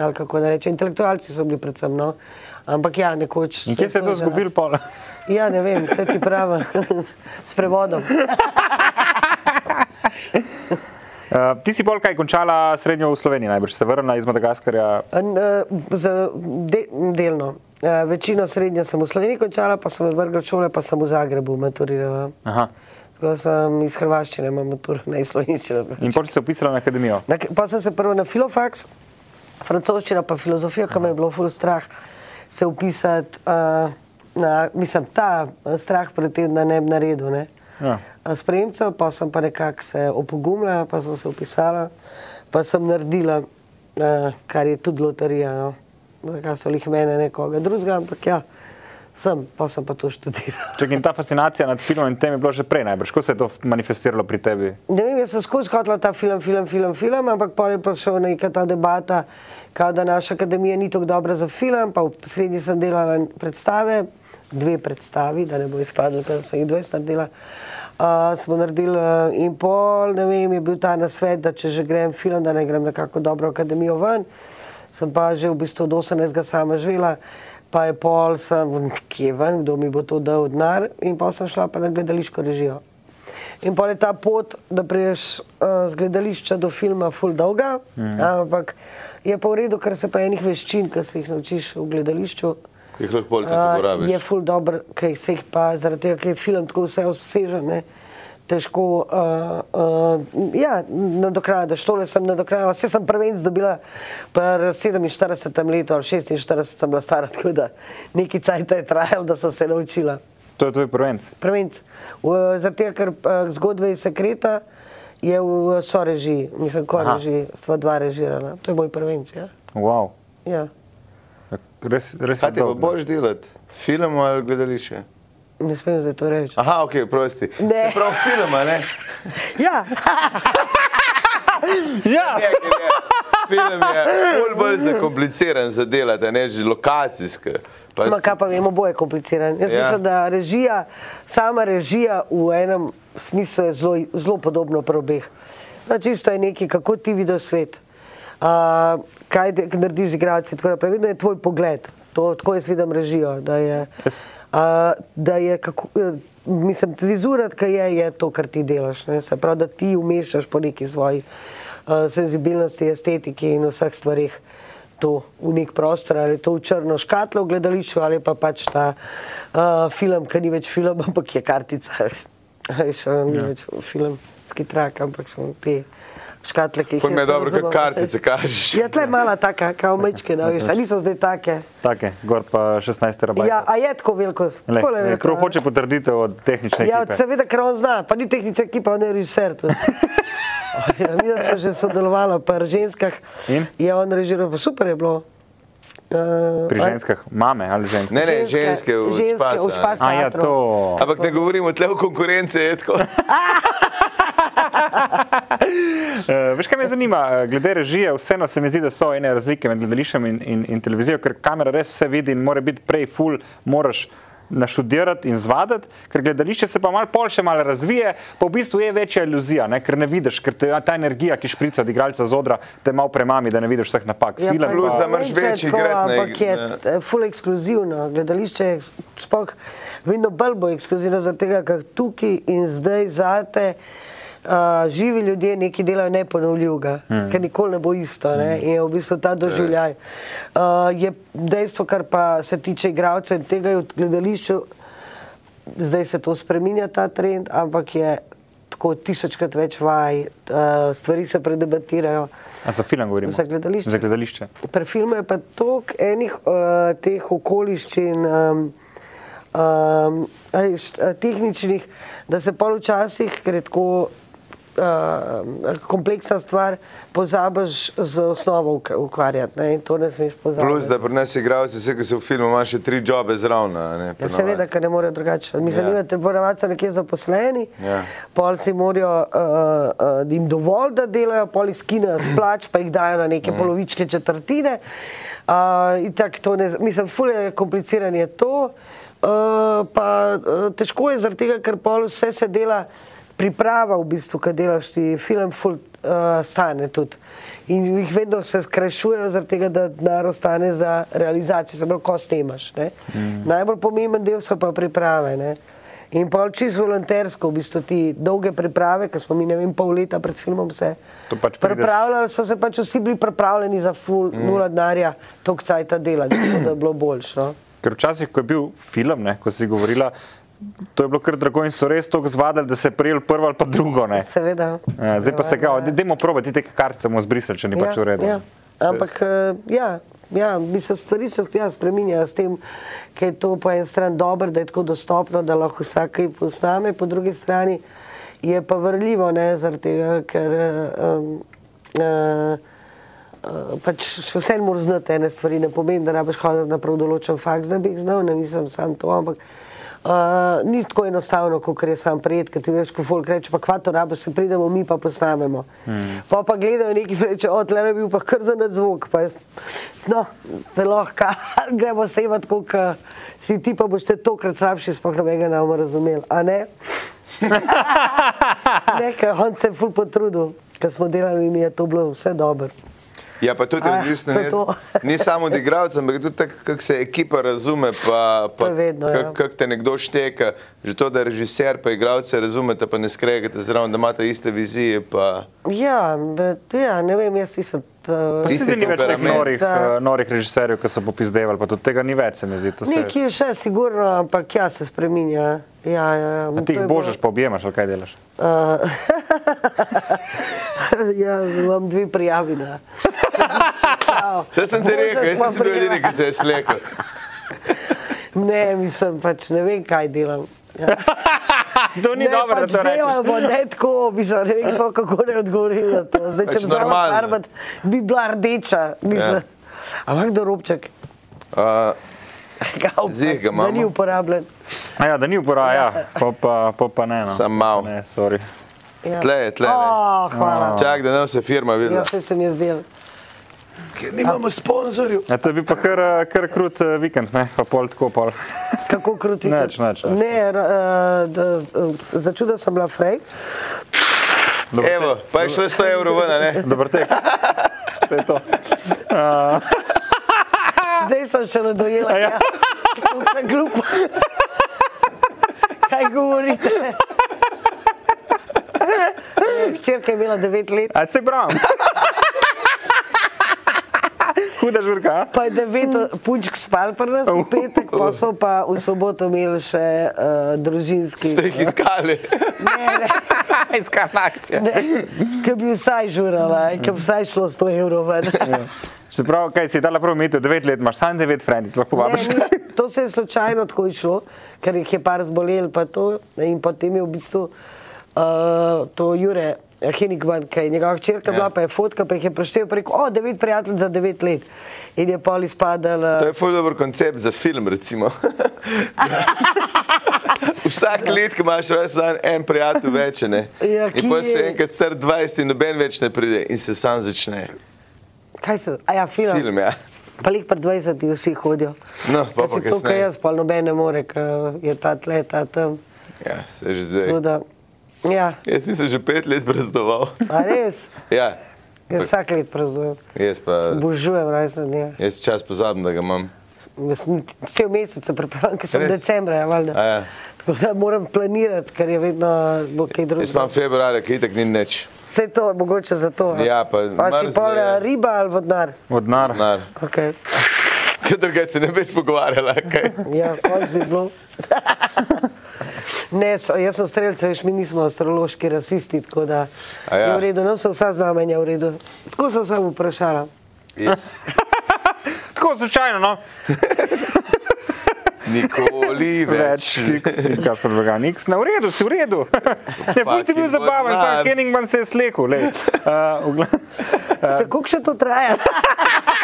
Ali kako da rečem, intelektualci so bili predvsem. No? Ampak ja, nekoč. In kje se je to izgubilo? zgubilo? pol? Ja, ne vem, vse ti pravi, s prevodom. Eh, Ti si bolj kaj končala srednjo v Sloveniji, najbrž se vrnila iz Madagaskarja. N- eh, za- De, delno. Eh, Večino srednje sem v Sloveniji končala, pa sem vrgla šole, pa sem v Zagrebu maturirala. Aha. Tako da sem iz Hrvaščine, imam maturo, ne iz Slovenščine. In potem si se upisala na akademijo. Na, pa sem se prvo na filofaks, francoščina pa filozofija, ki me je bilo ful strah se upisati. Uh, na, mislim, ta eh, strah pred tem, da ne bi naredil. Ne. Ja. Eh, Spremcev, pa sem pa nekako se opogumila, pa sem se upisala, pa sem naredila, eh, uh, kar je tudi loterija. No. Zakaj so jih mene, nekoga drugega, ampak ja, sem, pa sem pa to študiral. Čekaj, in ta fascinacija nad filmom in tem je bila že prej najbrž. Kako se je to manifestiralo pri tebi? Ne vem, jaz sem skozi hodila ta film, film, film, film, ampak pa je prišla neka ta debata, kao da naša akademija ni tako dobra za film, pa v sredi sem delala predstave, dve predstavi, da ne bo izpadlo, ker sem jih 20 naredila. Uh, smo naredili eh, in pol, ne vem, je bil ta nasvet, da če že grem film, da ne grem na kakšno dobro akademijo ven. Sem pa že v bistvu od 18. sama živela, pa je pol, sem kje ven, kdo mi bo to dal denar, in pa sem šla pa na gledališko režijo. In pa je ta pot, da priješ uh, z gledališča do filma, full dolga, mm. ampak je pa v redu, ker se pa enih veščin, ki se jih naučiš v gledališču. Jih lahko bolj a, tudi uporabiš. Je full dobro, ker se jih pa zaradi tega, ker je film tako vse obsežen. Ne? Težko, uh, uh, ja, nadoknadiš, tole sem nadoknadila. Vse sem prvenc dobila pri 47 letu ali 46, sem bila stara, tako da neki cajt je trajal, da sem se naučila To je tvoj prvenc. prvenc. V- Zaradi tega, ker eh, zgodbe iz Sekreta je v sorežiji, mislim, ko Aha. reži, stva dva režirala. To je moj prvenc, ja. Wow. ja. Res, res Kaj ti pa dobro. boš delati? Film ali gledališče? Ne smem zdaj to reči. Ah. Aha, ok, prosti. Ne. Se Prav film, a ne? Ja, Ja, Ne, ker je, ja. film je bolj, bolj zakompliciran za delati, a ne že lokacijski. Pa ma s- kaj pa vemo, boje kompliciran. Jaz Ja. ja. mislim, da režija, sama režija v enem smislu je zelo, zelo podobno pri obeh. No, čisto je nekaj, kako ti vidiš svet, uh, kaj te- narediš z igralci, tako naprej. Vedno je tvoj pogled, to, tako jaz vidim režijo, da je Jaz- A, da je kako. eh, Mislim, vizurat, ki je, je to, kar ti delaš. Ne? Se pravi, da ti umeščaš po neki svoji uh, senzibilnosti, estetiki in vseh stvarih to v nek prostor, ali je to v črno škatlo v gledališču, ali pa pač ta uh, film, ki ni več film, ampak je kartica. Je še ni ja. več film, skitrak, ampak so te škatle, ki jih Ful mi je jaz ne dobro, kot razumem. kartice kažeš. Ja, tle je mala taka, kao mečke, no, veš, ali so zdaj take. Take, gor pa 16 terabajtov. Ja, a je tako veliko? Le, Takole le, veliko, Kdo a? hoče potrditev od tehnične Ja, ekipe? seveda, ker on zna, pa ni tehnična ekipa, on je režiser. tudi. Ja, mi smo že sodelovali pri ženskah. In? Je on režiral, pa super je bilo. Uh, Pri ženskah, mame ali ženske. Ne, ne, ženske v ženske špasu, a v ne. špas A ja, teatru. to. No. Ampak ne govorimo tle o konkurenci, je tako. Uh, veš, kaj me zanima, eh, glede režije, vseeno se mi zdi, da so ene razlike med gledališčem in, in, in televizijo, ker kamera res vse vidi in mora biti prej full, moraš naštudirati in zvadati, ker gledališče se pa malo pol še malo razvije, pa v bistvu je večja iluzija, ne? ker ne vidiš, ker te, ta energija, ki šprica od igralca z odra, te malo premami, da ne vidiš vseh napak. Ja, Film pa- Plus, da pa- moraš ne, več če igrat tako, na Ampak ig- je na- t- ful ekskluzivno, gledališče je eks- sploh vedno bolj bo ekskluzivno, zaradi tega, ker tukaj in zdaj zate. Uh, živi ljudje nekaj delajo neponovljivega, mm. ker nikoli ne bo isto. Ne? In Hmm. je v bistvu ta doživljaj. Uh, je dejstvo, kar pa se tiče igralcev in tega, je v gledališču zdaj se to spremenja, ta trend, ampak je tako tisočkrat več vaj, uh, stvari se predebatirajo. A za film govorimo. Za gledališče. Za gledališče. Pri filmu je pa toliko enih uh, teh okoliščin, um, um, a veš, eh, tehničnih, da se pol včasih, ker je tako uh, kompleksna stvar, pozabiš z osnovo uk- ukvarjati. Ne? In to ne smeš pozabiti. Plus, da pri nas igralci, vse, ki so v filmu, imaš še tri jobe zraven. a ne, Ja, po seveda, navadi. ker ne morejo drugače. Mi se Ja. zanima, da ponovadi so nekje zaposleni, Ja. pol si morajo, uh, uh, jim dovolj, da delajo, pol jih skinejo s plač, pa jih dajo na Mhm. neke polovičke četrtine. Uh, in tako to ne, mislim, fulje komplicirano je to, uh, pa uh, težko je zaradi tega, ker pol vse se dela, priprava v bistvu, kaj delaš ti film, ful uh, stane tudi. In jih vedno se skrajšujejo, zaradi tega, da denar ostane za realizacijo, se pravi, ko snemaš. Mm. Najbolj pomemben del so pa priprave. Ne? In pa čisto volontersko, v bistvu ti dolge priprave, ki smo mi, ne vem, pol leta pred filmom se To pač prideš- pripravljali, so se pač vsi bili pripravljeni za full mm. nula denarja, tok cajta dela, tako da je bilo boljše. No? Ker včasih, ko je bil film, ne, ko si govorila, to je bilo kar drago in so res tako zvadali, da se je prijel prvo ali pa drugo. Ne. Seveda. Ja, zdaj pa se Seveda, kao, ja. "Daj- dajmo probati te kartice, bomo zbrisali, če ni pač v redu. Ja. Se- Ampak eh, ja, ja, bi se stvari se ja, spremenjajo s tem, ker je to po eni strani dobro, da je tako dostopno, da lahko vsak kaj posname, po drugi strani je pa vrljivo, ne, zaradi tega, ker eh, um, uh, eh, pač še vse moraš znati ene stvari, ne pomeni, da rabiš hoditi na prav določen faks, da bi jih znal, ne mislim sam to, ampak uh, ni tako enostavno, kot je sam prijet, ker ti veš, ko folk reče, pa kva to rabiš, se pridemo mi pa posnamemo. Mm. Pa pa gledajo neki in rečejo, o, tle je bil pa kar za nad zvok, pa no, te lahko gremo snemati, kot si ti pa boš te tokrat slabši, sploh nobenega ne bomo razumeli, a ne? ne, ker on se je ful potrudil, ker smo delali in je to bilo vse dobro. Ja, pa tudi Ah, odvisno, to ne, to. ni samo od igralcev, ampak tudi tako, kako se ekipa razume, pa, To pa je vedno, ja. kako kak te nekdo šteka. Že to, da režiser pa igralce razumete, pa ne skregate zraven, da imate iste vizije. Pa... Ja, be, ja, ne vem, jaz nisem. Pa Uh, se Isti zdaj ni več teh temperament. norih, Da. eh, norih režiserjev, ki so popizdevali, pa tudi tega ni več, se mi zdi. to se- Nekje je še, sigurno, ampak ja, se spremenja. Ja, ja, ja. A To Ti jih je bilo- božeš, pa objemaš, ali kaj delaš. Uh, ja, imam dve prijavi. na sodišču, Vse sem ti čau. rekel, Božek jaz ima sem bil edini, ki prijave. se je slekel. Ne, mislim, pač ne vem, kaj delam. Ja. To ni ne, dobro, pač da to rečeš. delamo, ne tako, mislim, ne vem, sploh kako ne odgovorim na to. Zdaj, če Pač bi znala normalno. farbat, bi bila rdeča. Ja. Ja. Ampak do robček, Uh, ga up- Zih ga da ni imamo. uporabljen. A Ja, da ni uporaja, ja. pa, pa, pa, pa ne. No. Samo malo. Ne, sorry. Ja. tle je, tle je. Oh, hvala. Čak, da ne vse firma videla. Ja, se sem jaz delal. Ker nimamo sponzorjev. Ja, to bi pa kar, eh, kar krut eh, vikend, ne? pa pol tako pol. Kako kruti. Nič, nič, nič. Ne, ra- eh, da, eh, začuda sem bila frej. Dobro, Evo, pa je šlo 100 evrov ven, a ne? Dobro tek. Vse je to. Zdaj sem še ne dojela. Ja. Kako sem glupa. Kaj govorite? Ne, Hčerka je imela 9 let, A se bram. Huda žurka, a? pa je 9 punčk spal pri nas v petek, pa smo pa v soboto imeli še uh, družinski. Ste jih iskali. Ne, ne. Iskarna akcija. Ne, ki bi vsaj žurala, ki bi vsaj šlo 100 evrov ven. Ja. Se pravi, kaj si dala prav imeti, 9 let imaš, samo 9 frendic, lahko Ne, vabiš. ni- to se je slučajno tako išlo, ker jih je par zbolel, pa to, in potem je v bistvu uh, to Jure. Henigman, ki je njegova Ja. hčerka, bila pa je fotka, pa jih je preštel preko, o, devet prijateljev za devet let. In je pol eh, izpadal. To je ful dober koncept za film, recimo. Vsak let, ko imaš rojsten dan, en prijatelj več, a ne. Ja, ki in potem se je- enkrat star 20 in noben več ne pride in se sam začne. Kaj se, a ja, film. Film, ja. Pa lih pred 20 vsi hodijo. No, pa Ker pa si Ja, to, kar kasneje. jaz, pa noben ne more, ker je ta tle, ta tam. Ja, se že zdaj. Tako da, ja, Jaz nisem že pet let brazdoval. a res, Ja, jaz vsak let praznujem. jaz pa, Božujem rojstne dneve. jaz čas pozabim, da ga imam. Jaz niti- Cel mesec se pripravljam, ker sem Res? decembra. Ja, valjda. A ja. Tako da moram planirati, ker je vedno bo kaj Jaz imam drugega. februarja, ki itek ni nič. Vse to je mogoče za to. a? Ja, pa a si mrzne, pol ja. eh, riba ali vodnar. Odnar. Nar. Okay. Ker drugače se ne bi več pogovarjala. Kaj? Ja, konc bi bilo. ne, so, jaz sem streljce, veš, mi nismo astrološki rasisti, tako da A ja. je v redu, nam so vsa znamenja v redu. Tako sem samo vprašala. Ja. Jaz Tako slučajno, no. nikoli več. X, Kasper Vegan, X, na redu, si v redu. Ne, pun si bil Fucking zabaven, vodnar. sam Kenningman se je slekel. Uh, Če koliko še to traja?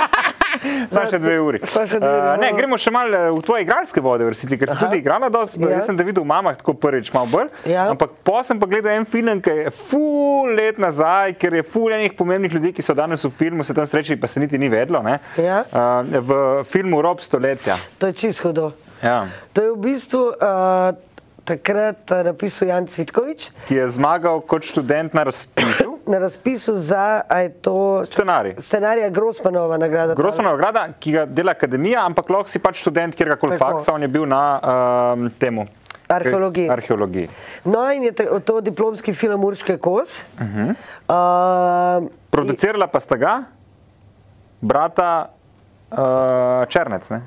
Samo še dve uri. Samo še dve uri, Eh, ne, aha. gremo še malo eh, v tvoje igralske vode, v resnici, ker si tudi igrala dosti. Ja. Ja. Jaz sem te videl v mamah tako prvič, malo bolj. Ja. Ampak po sem pa gledal en film, ki je ful let nazaj, ker je ful enih pomembnih ljudi, ki so danes v filmu, se tam srečali, pa se niti ni vedlo. ne. Ja. Eh, v filmu Rob stoletja. To je čisto hudo. Ja. To je v bistvu uh, takrat eh, napisal Jan Cvitkovič Ki je zmagal kot študent na razpisu. na razpisu za a je to Scenarij. scenarija Grossmanova nagrada. Grosmanova nagrada, ki ga dela akademija, ampak lahko si pač študent Tako. kjerkoli faksa, on je bil na um, temu. Arheologiji. Arheologiji. No, in je ta- to diplomski film Urške Kos. Uh -huh. uh, Producirala pa sta ga, brata uh, Črnec. Ne?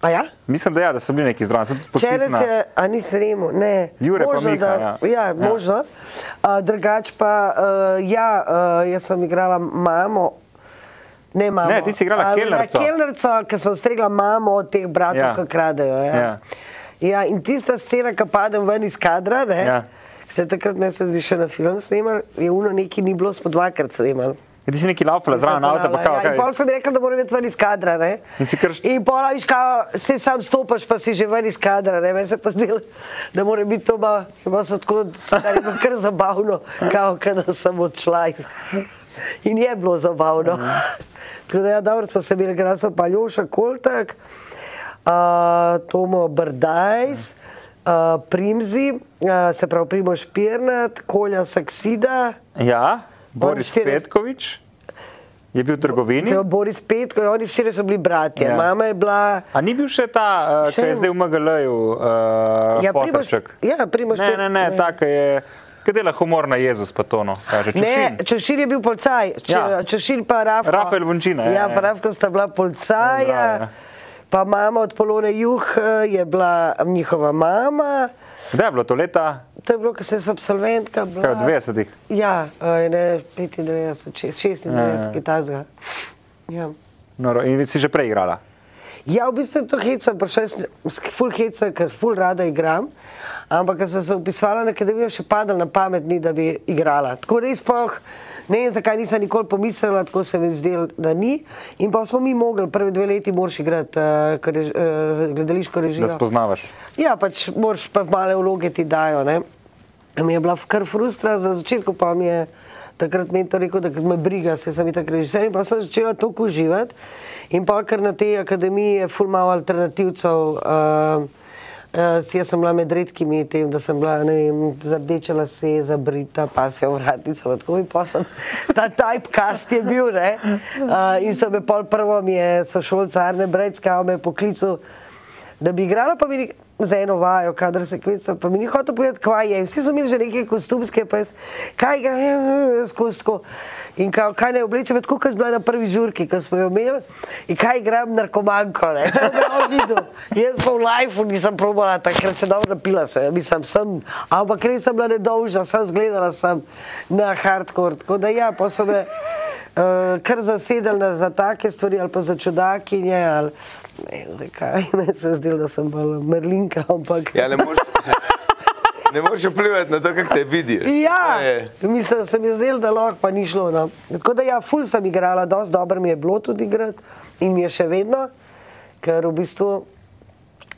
a ja? Mislim, da, ja, da so bili neki zraven. Sem tudi Čerec podpisana- je, a ni sremo, ne. Jure pa da, Mika, ja. ja. Ja. ja, možno. Uh, drugač pa, uh, ja, uh, jaz sem igrala mamo. Ne, mamo. Ne, ti si igrala A, kelnerco. Kelnerco, ker sem stregla mamo od teh bratov, Ja. ja. ki kradejo. Ja. Ja. Ja. Ja, in tista scena, ki padem ven iz kadra, ne, Ja. ja. se takrat ne se zdi še na film snemali, je uno neki ni bilo, smo dvakrat snemali. In ti si neki laufala zraven Sem avta, pa ponavljala, kao, ja, in kaj. Pol so mi rekli, da moram iti ven iz kadra. Ne? In si kar- In pol a viš, kao, se sam stopaš, pa si že ven iz kadra. Ne? Meni se pa zdelo, da mora biti to malo, malo so tako, da je bilo kar zabavno, kao, kaj da sem odšla. Iz... In je bilo zabavno. Tako da, ja, dobro smo se imeli, ker so pa Ljoša Koltak, uh, Tomo Brdajs, uh, Primzi, uh, se pravi Primoš Pirnat, Kolja Saksida. Ja, Boris štiri- Petkovič je bil v trgovini. To je Boris Petko, oni vsi so bili bratje. Ja. Ja. Mama je bila. A ni bil še ta, uh, Še ki je en. zdaj v MGL-ju, uh, ja, Potrček? Primož- ja, Primož Ne, Pet- ne, ne, ne. ta, ki je, ki dela humor na Jezus, pa to no, kaže Ne, čušin. Češir je bil policaj, Če, ja. Ja. Češir pa Rafa. Rafael Bončina, ja, Ja, ja. pa Rafa sta bila Ja, policaja, ja. pa mama od Polone Juh eh, je bila njihova mama. Kdaj je bilo to leta? To je bilo, ko sem se absolventka. Bila, Kaj, v 90-ih? Ja, eh, ne, 95, 96, Ja, ja. 96, tazga. Ja. Noro, No, in si že prej igrala. Ja, v bistvu je to heca, prišla sem, ful heca, ker ful rada igram. Ampak, ker sem se upisala na akademijo, še padala na pamet, ni, da bi igrala. Tako res sploh ne vem, zakaj nisem nikoli pomislila, tako se mi zdelo, da ni. In pa smo mi mogli, prve dve leti moraš igrati uh, rež, uh, gledališko režijo. Da spoznavaš. Ja, pač moraš pa male vloge ti dajo. Ne? Mi je bila f- kar frustra, za začetku pa mi je takrat mentor rekel, da me briga, se sem tako režiser in pa sem začela to uživati. In pa kar na tej akademiji je ful malo alternativcev. Uh, Uh, jaz sem bila med redkimi, tem, da sem bila ne vem, zardečela se, zabrita, pasja vratnica. Tako in pa sem ta typecast je bil. ne. Uh, in so me pol prvo, mi je sošolca Arne Brejcka, me je poklical da bi igrala, pa mi ni- za eno vajo, kadar se kvica, pa mi ni hotel povedati, kaj je. Vsi so imeli že neke kostumske, pa jaz, kaj igra, ja, skozi tako. In kaj, kaj naj oblečem, tako kot sem bila na prvi žurki, ki smo jo imeli, in kaj igram narkomanko. Ne? To bi on videl. Jaz pa v lifeu nisem probala, takrat še dobro napila se, mislim, sem, ampak res sem bila nedolžna, sem zgledala sem na hardcore. Tako da ja, pa so me uh, kar zasedali na- za take stvari, ali pa za čudakinje. Ali, ne, vem, zakaj meni se je zdelo, da sem bolj mrlinka, ampak. Ja, ne moreš, ne moreš vplivati na to, kako te vidijo. Ja, To je- mislim, se mi je zdelo, da lahko pa ni šlo. No. Tako da, ja, ful sem igrala, dosti dobro mi je bilo tudi igrati in mi je še vedno, ker v bistvu,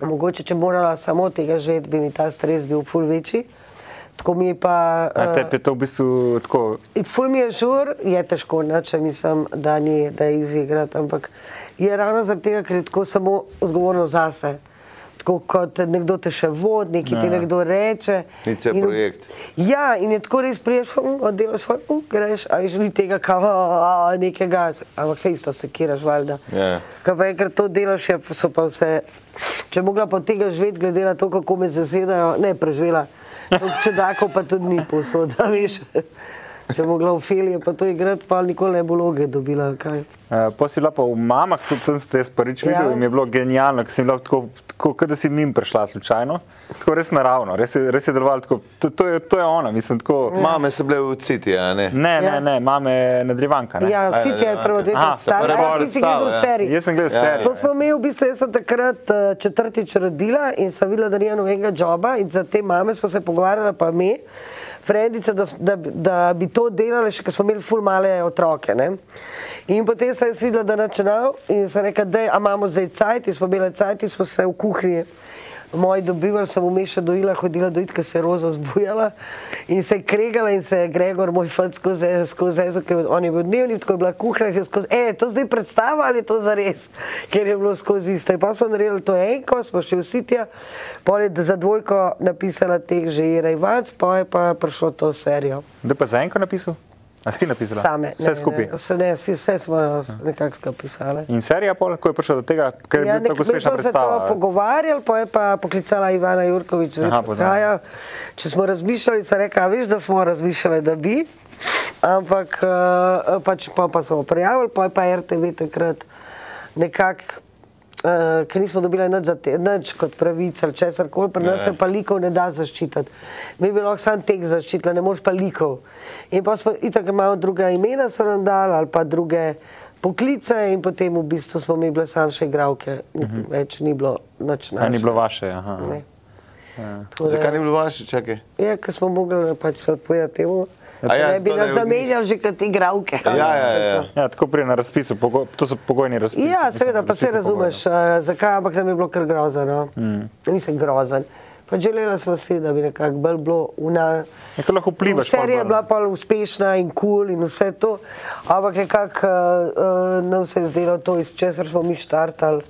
mogoče če morala samo tega živeti, bi mi ta stres bil ful večji. Tako mi je pa. A eh, tebi je to v bistvu tako, In Ful mi je žur, je težko, ne, če mislim, da ni, da je izigrati, ampak je ravno zaradi tega, ker je tako samo odgovorno zase. Tako kot nekdo te še vodi, nekaj ti Ja. nekdo reče. Ni cel in- projekt. Ja, in je tako res priješ, hm, oddelaš svoj, hm, greš, a že ni tega, kao, a, a, nekega, ampak se isto sekiraš, valjda. Ja. Kaj pa enkrat to delaš, je, pa- so pa vse. Če bi mogla pa od tega živeti, glede na to, kako me zasedajo, ne preživela. Čudako pa tudi ni posod, a veš. Če bi mogla v filije pa to igrati, pa nikoli ne bo loge dobila. Kaj. uh, pa si bila pa v mamah, tudi tam sem te jaz prvič Ja. videl in mi je bilo genialno, ker sem bila tako, tako kot da si mim prišla slučajno. Tako res naravno, res je, res je delovalo tako, to, to, je, to je ona, mislim tako. Mame so bile v Citi, a ne? Ne, ne, Ja. ne, mame nadrivanka. Ne? Ja, Ajde, vsi ti je ajde, prvo dve Aha, predstave, prva a ti si gledal predstava, ja. serij. Jaz sem gledal Ja, serijo. To smo mi, v bistvu, jaz sem takrat eh, četrtič rodila in sem videla, da ni nobenega joba in za te mame smo se pogovarjali, pa mi, frendice, da, da, da bi to delali, še ker smo imeli ful male otroke. Ne? In potem sem jaz videla, da načenal in sem rekla, da imamo zdaj cajt, in smo imeli cajt, in smo se v kuhinji. Moj dobival sem umeša dojila, hodila dojit, ker se je roza zbujala in se je kregala in se je Gregor, moj fant, skozi skozi ezo, ker on je bil dnevni, tako je bila kuhra, in je skozi, e, je to zdaj predstava ali je to zares, ker je bilo skozi isto. In pa smo naredili to enko, smo šli vsi tja, pol je za dvojko napisala teh že Ira Ivac, pa je pa prišlo to serijo. Kdo pa za enko napisal? A si ti napisala? Same. Vse ne, skupaj. Ne, vse, ne, vsi- vse smo nekako napisali. In serija, pol, ko je prišla do tega, ker je ja, bila tako uspešna se to predstava. pogovarjali, pa je pa poklicala Ivana Jurkovič, Aha, da poznam. prihaja. Če smo razmišljali, se reka, veš, da smo razmišljali, da bi, ampak eh, pač pa, pa smo prijavili, pa je pa RTV takrat nekako. Uh, ker nismo dobili nič, za te, nič kot pravice ali česar koli, pri nas se pa likov ne da zaščititi. Mi bi lahko sam tek zaščitili, ne moreš pa likov. In pa smo itak imamo druga imena, so nam dali ali pa druge poklice in potem v bistvu smo mi bili sam še igravke, uh -huh. več ni bilo nič Ja, Mhm. ni našega. bilo Ja. vaše. Aha. Ne. Tako da- Zakaj ni bilo vaše, čakaj? Ja, ker smo mogli pač se odpovedati temu. A ja, ne bi zato, da nas je zamenjal že kot igravke. Ja, ja, ja. Ja, tako prije na razpisu, pogo, to so pogojni razpisi. Ja, mislim, seveda, pa razpisi se razumeš, eh, zakaj, ampak nam je bilo kar grozno. No? Mm. Nisem grozen. Pa želela smo si, da bi nekako bolj bilo una. Ja, ker lahko vplivaš pol Serija je bolj, bila ne. pa uspešna in kul cool in vse to, ampak nekako uh, nam se je zdelo to, iz česar smo mi štartali,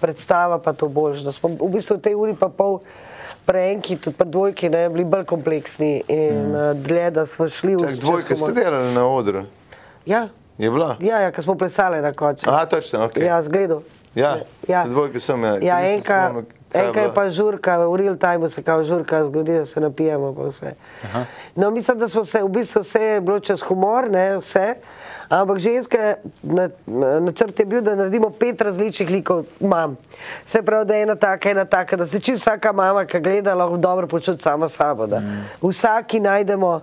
predstava pa to boljš. Da smo v bistvu v tej uri pa pol preenki, tudi pri dvojki, ne, bili bolj kompleksni in mm. uh, dlje, da smo šli v Čak, dvojka ste smo- delali na odru. Ja, Je bila? ja, ja ker smo plesali na koncu. Aha, točno, ok. Ja, zgledal. Ja, dvojke sem, ja. ja Nisem enka, spomnil, kaj je enka je bila. pa žurka, v real timeu se kao žurka zgodi, da se napijemo. pa vse. No, mislim, da smo se, v bistvu vse je bilo čez humor, ne vse. Ampak ženske, na- na- načrt je bil, da naredimo pet različnih likov mam. Se pravi, da je ena taka, ena taka, da se čisto vsaka mama, ki gleda, lahko dobro počuti sama sabo. da Vsaki najdemo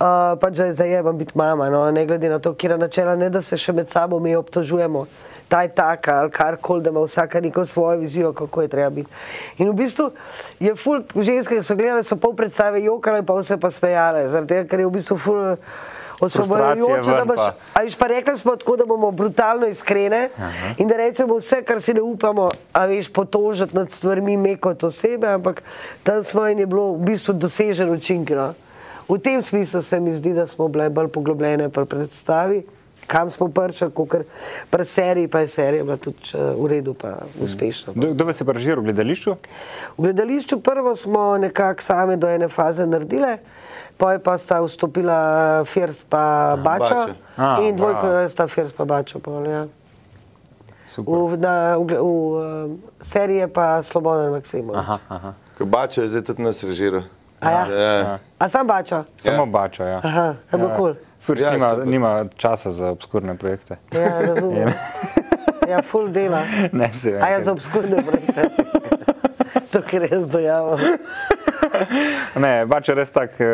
Uh, pač da je zajemam biti mama, no, ne glede na to, kje je načela, ne da se še med sabo mi obtožujemo, ta je taka ali karkoli, da ima vsaka neko svojo vizijo, kako je treba biti. In v bistvu je ful, ženske, ki so gledale, so pol predstave jokale, pa vse pa smejale, zaradi tega, ker je v bistvu ful eh, osvobojujoče, da ven imaš. pa. A viš pa rekli smo tako, da bomo brutalno iskrene Aha. in da rečemo vse, kar si ne upamo, a veš, potožiti nad stvarmi me kot osebe, ampak tam smo in je bilo v bistvu dosežen učinek. No. V tem smislu se mi zdi, da smo bile bolj poglobljene pri predstavi, kam smo prčali, kot pri seriji, pa je serija bila tudi eh, v redu, pa uspešna. Kdo kdo vas je preživel v gledališču? V gledališču prvo smo nekako same do ene faze naredile, poj pa sta vstopila First pa Bača Bača. A, in dvojko bravo. sta First pa Bača. Pol, ja. Super. V, na, v, gle- v um, seriji je pa Slobodan Maksimovič. Aha, aha. Ko Bačo je zdaj tudi nas režiral. A ja? Ja. A sam Bača? Ja. Samo bača. Ja. Aha, je bilo kul. Furs Ja, nima, super. nima časa za obskurne projekte. Ja, razumem. Ja, full dela. Ne, se A ja, vem. za obskurne projekte. To, kar jaz dojamem. Ne, bač je res tak, eh,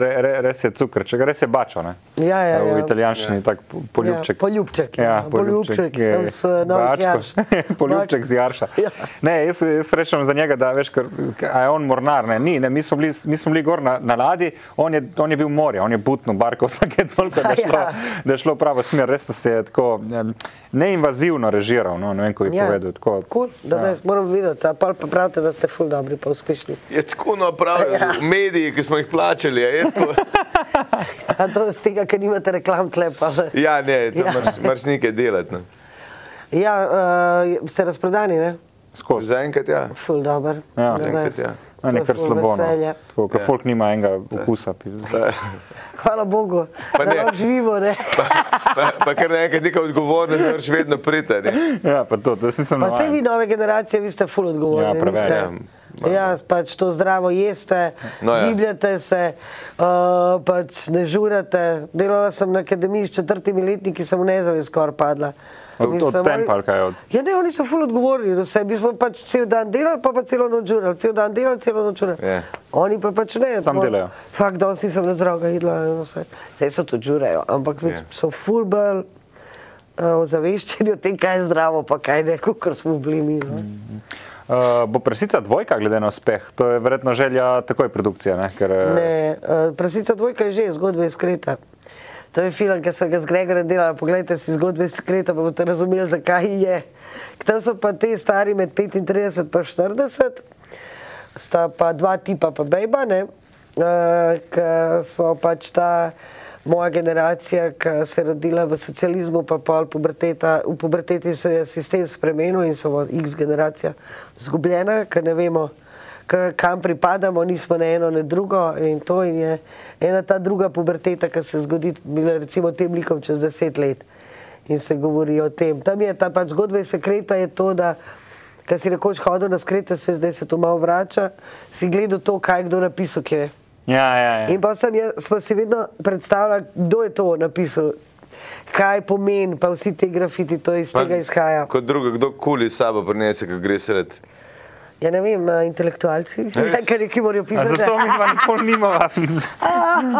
re, re, res je cukr, če ga res je bačo. Ne? Ja, ja, V ja. italijanščini tak po- poljubček. Ja, poljubček, ja. Ja, Poljubček, poljubček je sem s, eh, novih Bačko. Jarš. poljubček z Jarša. Ja. Ne, jaz, jaz rečem za njega, da veš, ker, k- a je on mornar. Ne? Ni, ne? Mi, smo bili, mi smo bili gor na, na ladji, on je, on je bil morje, on je butno barko vsake toliko, da je šlo, Ja. da je šlo v pravo smer. Res se je tako em, neinvazivno režiral, no, ne vem, kako Ja. bi povedal. Tako, Ja. Kul, da ne, moram videti. a Pol pa pravite, da ste full dobri, pa uspešni. Je tako napravil, ja. mediji, ki smo jih plačali. a Je tako, A to z tega, ker nimate reklam tlepa. ja, ne, Ja. tam moraš- moraš nekaj delati. no. Ne. Ja, uh, ste razprodani, ne? Skozi. Zaenkrat ja. Ful dober. Ja. The Enkrat, best. ja. To Ne, je nekaj ful slabo. veselje. No. Tako, ker Ja. folk nima enega okusa. Hvala Bogu, Pa da ne. lahko živimo. Ne? Pa, pa, pa kar naenkrat neka odgovornost, da moraš vedno priti. a ne. Ja, pa to, to jaz nisem Pa se navajen. vi nove generacije, vi ste ful Ja, odgovorni. preveč. niste? Ja, malo. Ja, pač to zdravo jeste, No, ja. gibljate se, uh, pač ne žurate. Delala sem na akademiji s četrtimi letniki, sem v nezavest skoraj padla. Od- od Mislim, tempa oni- ali kaj od- Ja, ne, oni so ful odgovorni, do vse. Mi smo pač cel dan delali, pa pa celo noč žurali, cel dan delali, celo noč žurali. Ja. Oni pa pač ne. Samo smo- delajo. Fakt, danes nisem razdraga jedla, zdaj so tudi žurejo, ampak yeah. Ja. so fulbel uh, ozaveščeni o tem, kaj je zdravo, pa kaj ne, kot smo bili mi. No. Uh, bo presica dvojka, glede na uspeh. To je verjetno želja takoj produkcije. Ne? Ker, eh, Ne, uh, prasica dvojka je že, zgodba je skreta. To je film, ki so ga z Gregorjem delali. Poglejte si zgodbe iz skreta, pa boste razumeli, zakaj je. Tam so pa ti stari med 35 in 40, sta pa dva tipa, pa bejba, ne, uh, ki so pač ta. Moja generacija, ki se je rodila v socializmu, pa pol puberteta, v puberteti se je sistem spremenil in smo X generacija izgubljena, ker ne vemo, k- kam pripadamo, nismo ne eno, ne drugo. In to in je ena ta druga puberteta, ki se zgodi, bila recimo tem likom čez deset let in se govori o tem. Tam je ta pač zgodba iz sekreta, je to, da kaj si rekoč hodil na skrete, se zdaj se to malo vrača, si gledal to, kaj je kdo napisal, kje je. Ja, ja, ja. In pa sem jaz, smo si vedno predstavljali, kdo je to napisal, kaj pomeni, pa vsi ti grafiti, to iz Pa tega izhaja. Kot drugo, kdo kuli s sabo prinese, ko gre sred. Ja, ne vem, a, intelektualci, res? ki neki morajo A pisati. Zato mi dva nikoli nimava.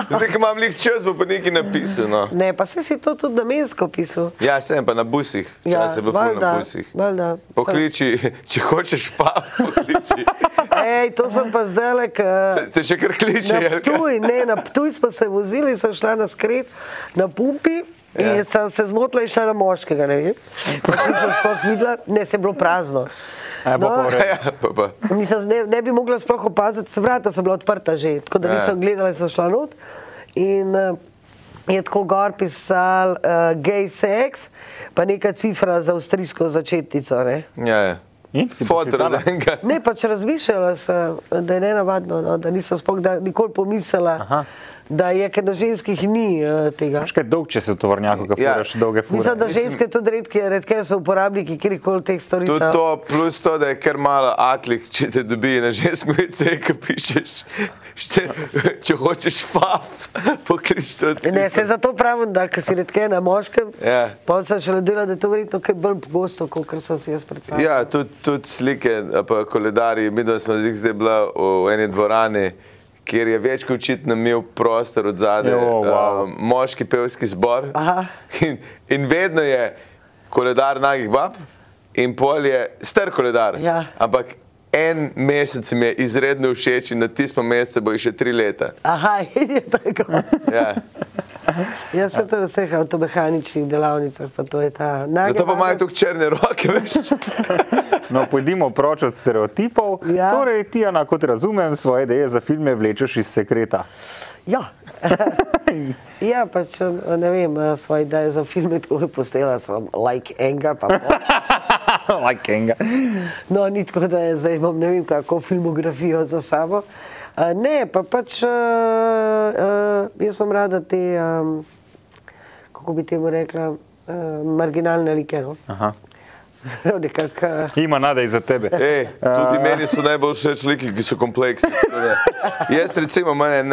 Zdaj, ko imam lik čas, bo pa nekaj napisano. Ne, pa se si to tudi namensko pisal. no. Ja, sem pa na busih, Ja, včasih je bilo ful na busih. valjda. Pokliči, če hočeš, pa pokliči. Ej, to sem pa zdaj le. Se- Te še kar kliče. ja, Na Jelka. Ptuj, ne, na Ptuj smo se vozili, sem šla na skret, na pumpi. Ja. Ja. Sem se zmotila in šla na moškega, ne vem. Pač nisem sploh videla, ne, se je bilo prazno. No, Aj, bo pa v redu. Ja, pa, pa. Nisem, ne, ne bi mogla sploh opaziti, se vrata so bila odprta že, tako da Ja. nisem gledala, sem šla not. In uh, je tako gor pisal uh, gay sex, pa neka cifra za avstrijsko začetnico. Ne, Ja, ja. In Hm, si Fotor, poklicala? da enega. ne pač razmišljala sem, da je ne navadno, no, da nisem sploh da, nikoli pomislila, Aha. Aha. da je, ker na ženskih ni uh, tega. Veš kaj dolg, če se v tovornjaku, ki Ja. furaš dolge fure. Mislim, da ženske tudi redke, redke so uporabniki kjerkoli teh storitev. Tudi to, plus to, da je kar malo atlih, če te dobi na žensko vece, ki pišeš, če, če hočeš faf, poklič to. Ne, se zato pravim, da ko si redke na moškem. Ja. Pa sem še naredila, da je to verjetno kaj bolj pogosto, kot sem si jaz predstavljala. Ja, tudi, tudi slike, a pa koledarji. Mi dva smo zdaj- zdaj bila v eni dvorani, kjer je več kot očitno imel prostor od zadaj, Jo, wow. um, moški pevski zbor. Aha. In, in vedno je koledar nagih bab, in pol je star koledar. Ja. Ampak en mesec mi je izredno všeč in na tistem mesecu bo še tri leta. Aha, in je tako. Ja. Jaz sem to v vseh avtomehaničnih delavnicah, pa to je ta najbolj. Zato pa imajo tako črne roke, veš. No, pojdimo proč od stereotipov. Ja. Torej, ti, Ana, kot razumem, svoje ideje za filme vlečeš iz sekreta. Ja. ja, pač eh, ne vem, eh, svoje ideje za filme tako je postela, sem like enega. pa pol. like enega. No, ni tako, da je zdaj imam ne vem kako filmografijo za sabo. Eh, Ne, pa pač eh, eh, jaz imam rada te, em, kako bi temu rekla, eh, marginalne like. No? Aha. Se pravi, nekako. eh, Ima nadej za tebe. Ja. Ej, tudi A. meni so najbolj všeč liki, ki so kompleksni. tako da. Jaz, recimo, meni je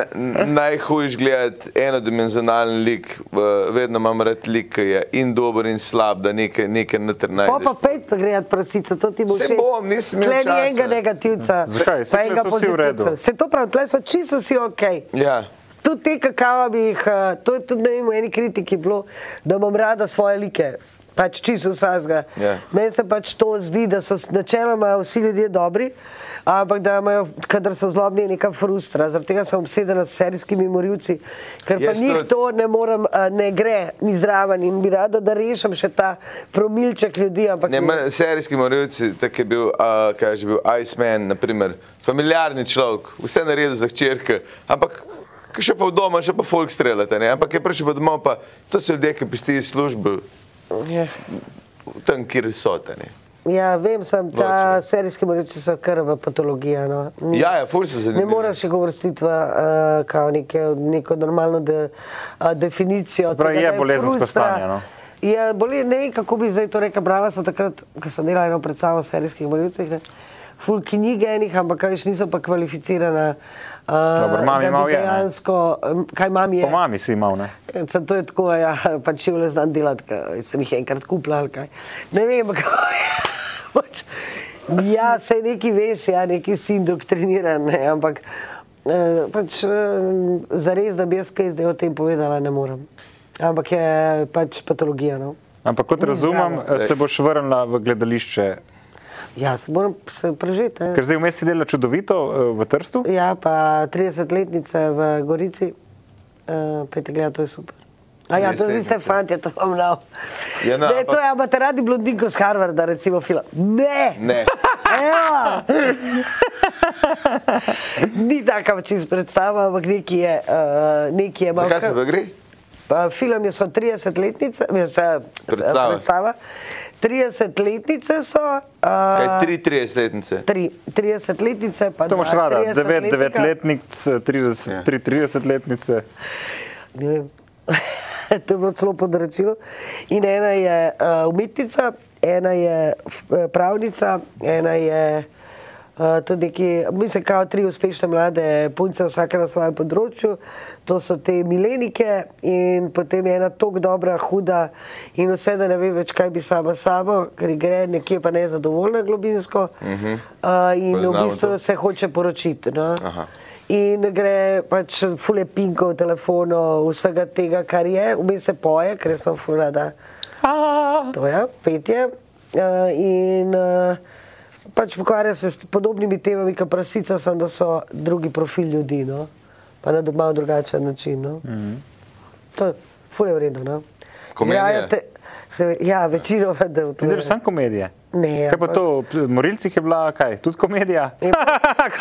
najhujš gledati enodimenzionalen lik, v- vedno imam rad lik, ki je in dober in slab, da nekaj, nekaj natr Pa najdeš. pa pet pogledati prasico, to ti bo Se všeč. bom, nisem imel Tle ni časa. enega negativca, Zakaj? Saj pa tule enega so vsi v redu. pozitivca. Se to pravi, tle so čisto vsi ok. Ja, Tudi te kakava bi jih, eh, to je tudi ne vem, v eni kritiki bilo, da imam rada svoje like. Pač čisto vsazga. Ja. Meni se pač to zdi, da so s- načeloma vsi ljudje dobri, ampak da imajo, kadar so zlobni, je neka frustra. Zaradi tega sem obsedena s serijskimi morilci, ker pa Jaz njih tudi. to ne morem, eh, ne gre mi zraven in bi rada, da rešim še ta promilček ljudi. ampak ne, ne. meni serijski morilci, tako je bil, a, kaj je že bil Iceman, naprimer, familiarni človek, vse naredil za hčerke, ampak ko še pa v doma, še pa folk streljate, ne? ampak je prišel pa domov, pa to so ljudje, ki pestijo službo Ja. tam, kjer so. a ne. Ja, vem, sem ta Ločeno. serijski morilci so kar v patologiji. No. Ni- Ja, ja, ful so Ne zanimivi. moreš jih uvrstiti v uh, kao neke, neko normalno de, uh, definicijo. pravi, tega, je da bolezensko frustra. stanje, no. Je bole, ne vem, kako bi zdaj to rekla. Brala sem takrat, ko sem delala eno predstavo o serijskih morilcih. ne. Ful knjige enih, ampak kaj še nisem pa kvalificirana. Uh, Dobro, mami da bi malo je, ne. dejansko, um, kaj mam je. Po mami si imel, ne? Sem to je tako, ja, pač če le znam delati, ke sem jih enkrat kupila ali kaj. Ne vem, kako je. Pač, ja, se neki veš, ja, neki si indoktriniran, ne, ampak eh, pač, eh, zares, da bi jaz kaj zdaj o tem povedala, ne morem. Ampak je pač patologija. No. Ampak kot Ni razumem, eh, zdravo. se boš vrnila v gledališče. Ja, se moram se prežeti. ja. Ker ne. zdaj vmes si dela čudovito eh, v Trstu. Ja, pa 30-letnice v Gorici, uh, pete gleda, to je super. A ja, to vi ste 30-letnice. fanti, to vam dal. Ja, no, ne, to ampak- je, amate radi blondinko z Harvarda, recimo film. Ne! Ne. Evo! Ni taka čist predstava, ampak neki je, uh, neki je malo Zakaj kar- se pa gre? Pa Film je so 30-letnice, mislim, eh, Predstava. predstava. 30-letnice so. Kaj Uh, tri 30-letnice? tri 30-letnice, pa To imaš dva rada, eh, 9, 30-letnika. 9-letnic, 30, Ja. 3, 30-letnice. ne vem, to je bilo celo podrečilo. In ena je uh, umetnica, ena je f- eh, pravnica, ena je uh, tudi neki, mislim, kao tri uspešne mlade punce, vsake na svojem področju. To so te milenike in potem je ena tako dobra, huda in vse, da ne ve več, kaj bi sama s sabo, ker ji gre nekje pa nezadovoljna globinsko uh -huh. uh, in v Mhm. Poznamo bistvu to. se hoče poročiti. No? Aha. In gre pač fule pinkov, telefonov, vsega tega, kar je, vmes se poje, ker smo furada. To je ja, petje. Uh, in uh, eh, pač ukvarja se s podobnimi temami, kot prasica, samo da so drugi profil ljudi, no? pa na doma drugačen način. No? Mm -hmm. To je fulje vredno. No? Komedije? Igrajo te- Se, ja, večino vedem. Ti delaš samo komedije. Ne, Kaj pa ampak- Ja. to, v Morilcih je bila, kaj, tudi komedija?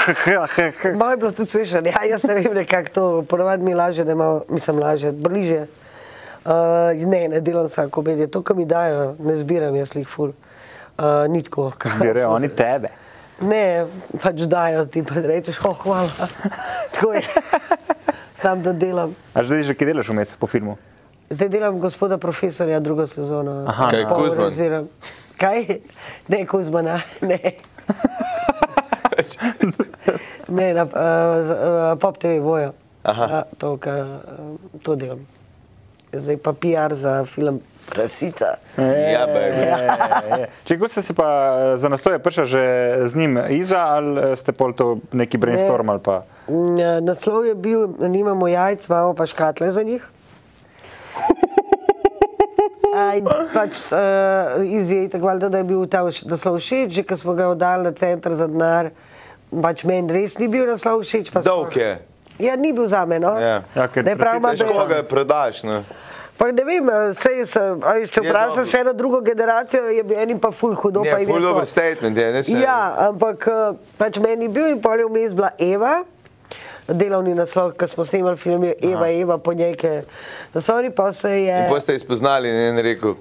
Malo je bilo tudi smešno, ja, jaz ne vem, kako to, ponovadi mi laže, da imam, mislim, laže, bliže. Uh, ne, ne delam samo komedije, to, kar mi dajo, ne zbiram jaz jih ful. Uh, ni tako. ka- Zbirajo oni tebe. Ne, pač dajo ti, pa rečeš, oh, hvala. tako je. Sam da delam. A že zdaj že kaj delaš vmes po filmu? Zdaj delam gospoda profesorja drugo sezono. Aha. Kaj, Pol Kuzman? režiram. Kaj? Ne, Kuzmana, ne. Ne, na uh, uh, pop TV bojo. Aha. Ja, to, ka, uh, to delam. Zdaj pa PR za film Prasica. Ja, baby. baby. E, Če kako ste se pa eh, za nastoje prišli že z njim iza ali eh, ste pol to neki brainstorm ali pa? Mm, eh, Naslov je bil: Nimamo jajc, imamo pa škatle za njih. Aj, pač, uh, izjej, tako valjda, da je bil ta vš- naslov všeč, že ko smo ga oddali na center za denar. Pač meni res ni bil naslov všeč. pa smo- Dolg je. Ja, ni bil za me. No? Ja. Ja, ker ne pravim, da profitaš je Težko ga je prodaš. no? Ne? Pa ne vem, sej, se, a veš, če Je dobro. vprašaš še eno drugo generacijo, je bil enim pa ful hudo. pa Je jim je ful to. dober statement. Je, ne, se- Ja, ampak eh, pač meni je bil in polje vmes bila Eva. Delovni naslov, ki smo snemali film, je Eva, Aha. Eva, po njej, zasori pa se je. In potem ste jih spoznali in en rekel,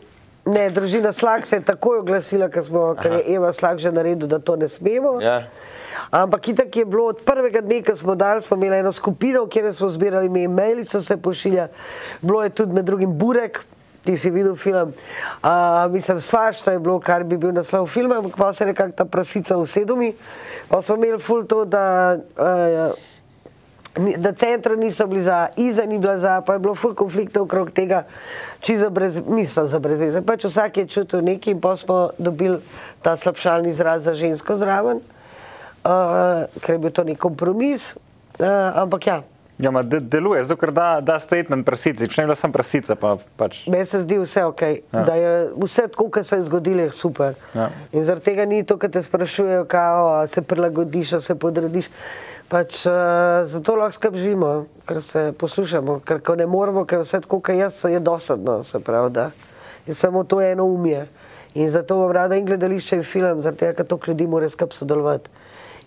Ne, družina Slak se je takoj oglasila, ker smo- ker je Eva Slak že naredil, da to ne smemo. Ja. Ampak itak je bilo od prvega dne, ko smo dali, smo imeli eno skupino, kjer smo zbirali ime, maili so se pošiljali, bilo je tudi med drugim Burek. Ti si videl film, uh, mislim, svašta je bilo, kar bi bil naslov filma, ampak pa se je nekako ta prasica usedumi. Pa smo imeli ful to, da uh, Ni- da centru niso bili za, Iza ni bila za, pa je bilo ful konfliktov okrog tega, čisto brez, mislim za brezveze. Pač vsak je čutil nekaj in pa smo dobili ta slabšalni izraz za žensko zraven, uh, ker je bil to nek kompromis, uh, ampak ja. Ja, ma de, deluje, zato ker da, da statement prasici, če ne bila sem prasica, pa pač. Meni se zdi vse ok, ja. da je vse tako, kar se je zgodilo, je super. Ja. In zaradi tega ni to, kar te sprašujejo, kao, a se prilagodiš, a se podrediš. Pač, uh, zato lahko skrb živimo, ker se poslušamo, ker ko ne moremo, ker je vse tako, kot jaz, je dosadno. se Pravi, da. je samo to eno umje. In zato imam rada in gledališče in film, zaradi tega, ker toliko ljudi mora skrb sodelovati.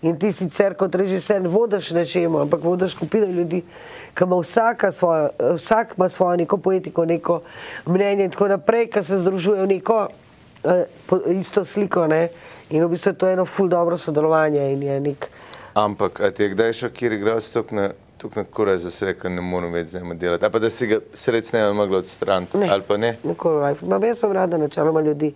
In ti sicer kot režiser ne vodiš nečemu, ampak vodiš skupino ljudi, ki ima vsaka svojo, vsak ima svojo neko poetiko, neko mnenje in tako naprej, ki se združuje v neko eh, po- isto sliko. Ne? In v bistvu je to eno ful dobro sodelovanje in je nek. ampak a ti je kdaj šel, kjer igraš tok na, tok na kuraj, da si rekel, ne morem več z njim delati. Ali pa da si ga sred ne mogla odstraniti. Ne, Ali pa ne. Nikoli v life. Imam jaz pa rada načeloma ljudi.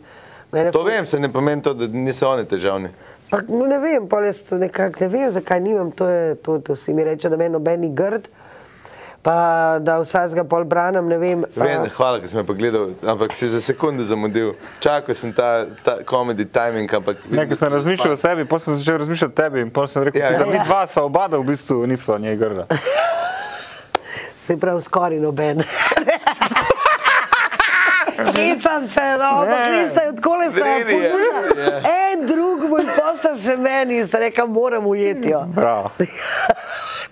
Mene To ful- vem, se ne pomeni to, da niso oni težavni. Pa, no, ne vem, pol jaz nekako ne vem, zakaj nimam. To, je, to, to si mi reče, da meni noben ni grd, pa da vsakega pol branim, ne vem. a- Vem, hvala, ker si me pogledal, ampak si za sekundo zamudil. Čakal sem ta, ta comedy timing, ampak vidim, Nekaj da sem si razmišljal o zaspal. sebi, potem sem začel razmišljati o tebi in potem sem rekel, Ja, da ja. mi dva sva oba, da v bistvu niso njej grda. Se pravi, skoraj noben. Hecam se, no, ampak Ne. vi ste od kole Zreli ste je, ponudili. ja. En drug bo postal še meni in se reka, moram ujeti jo. Bravo.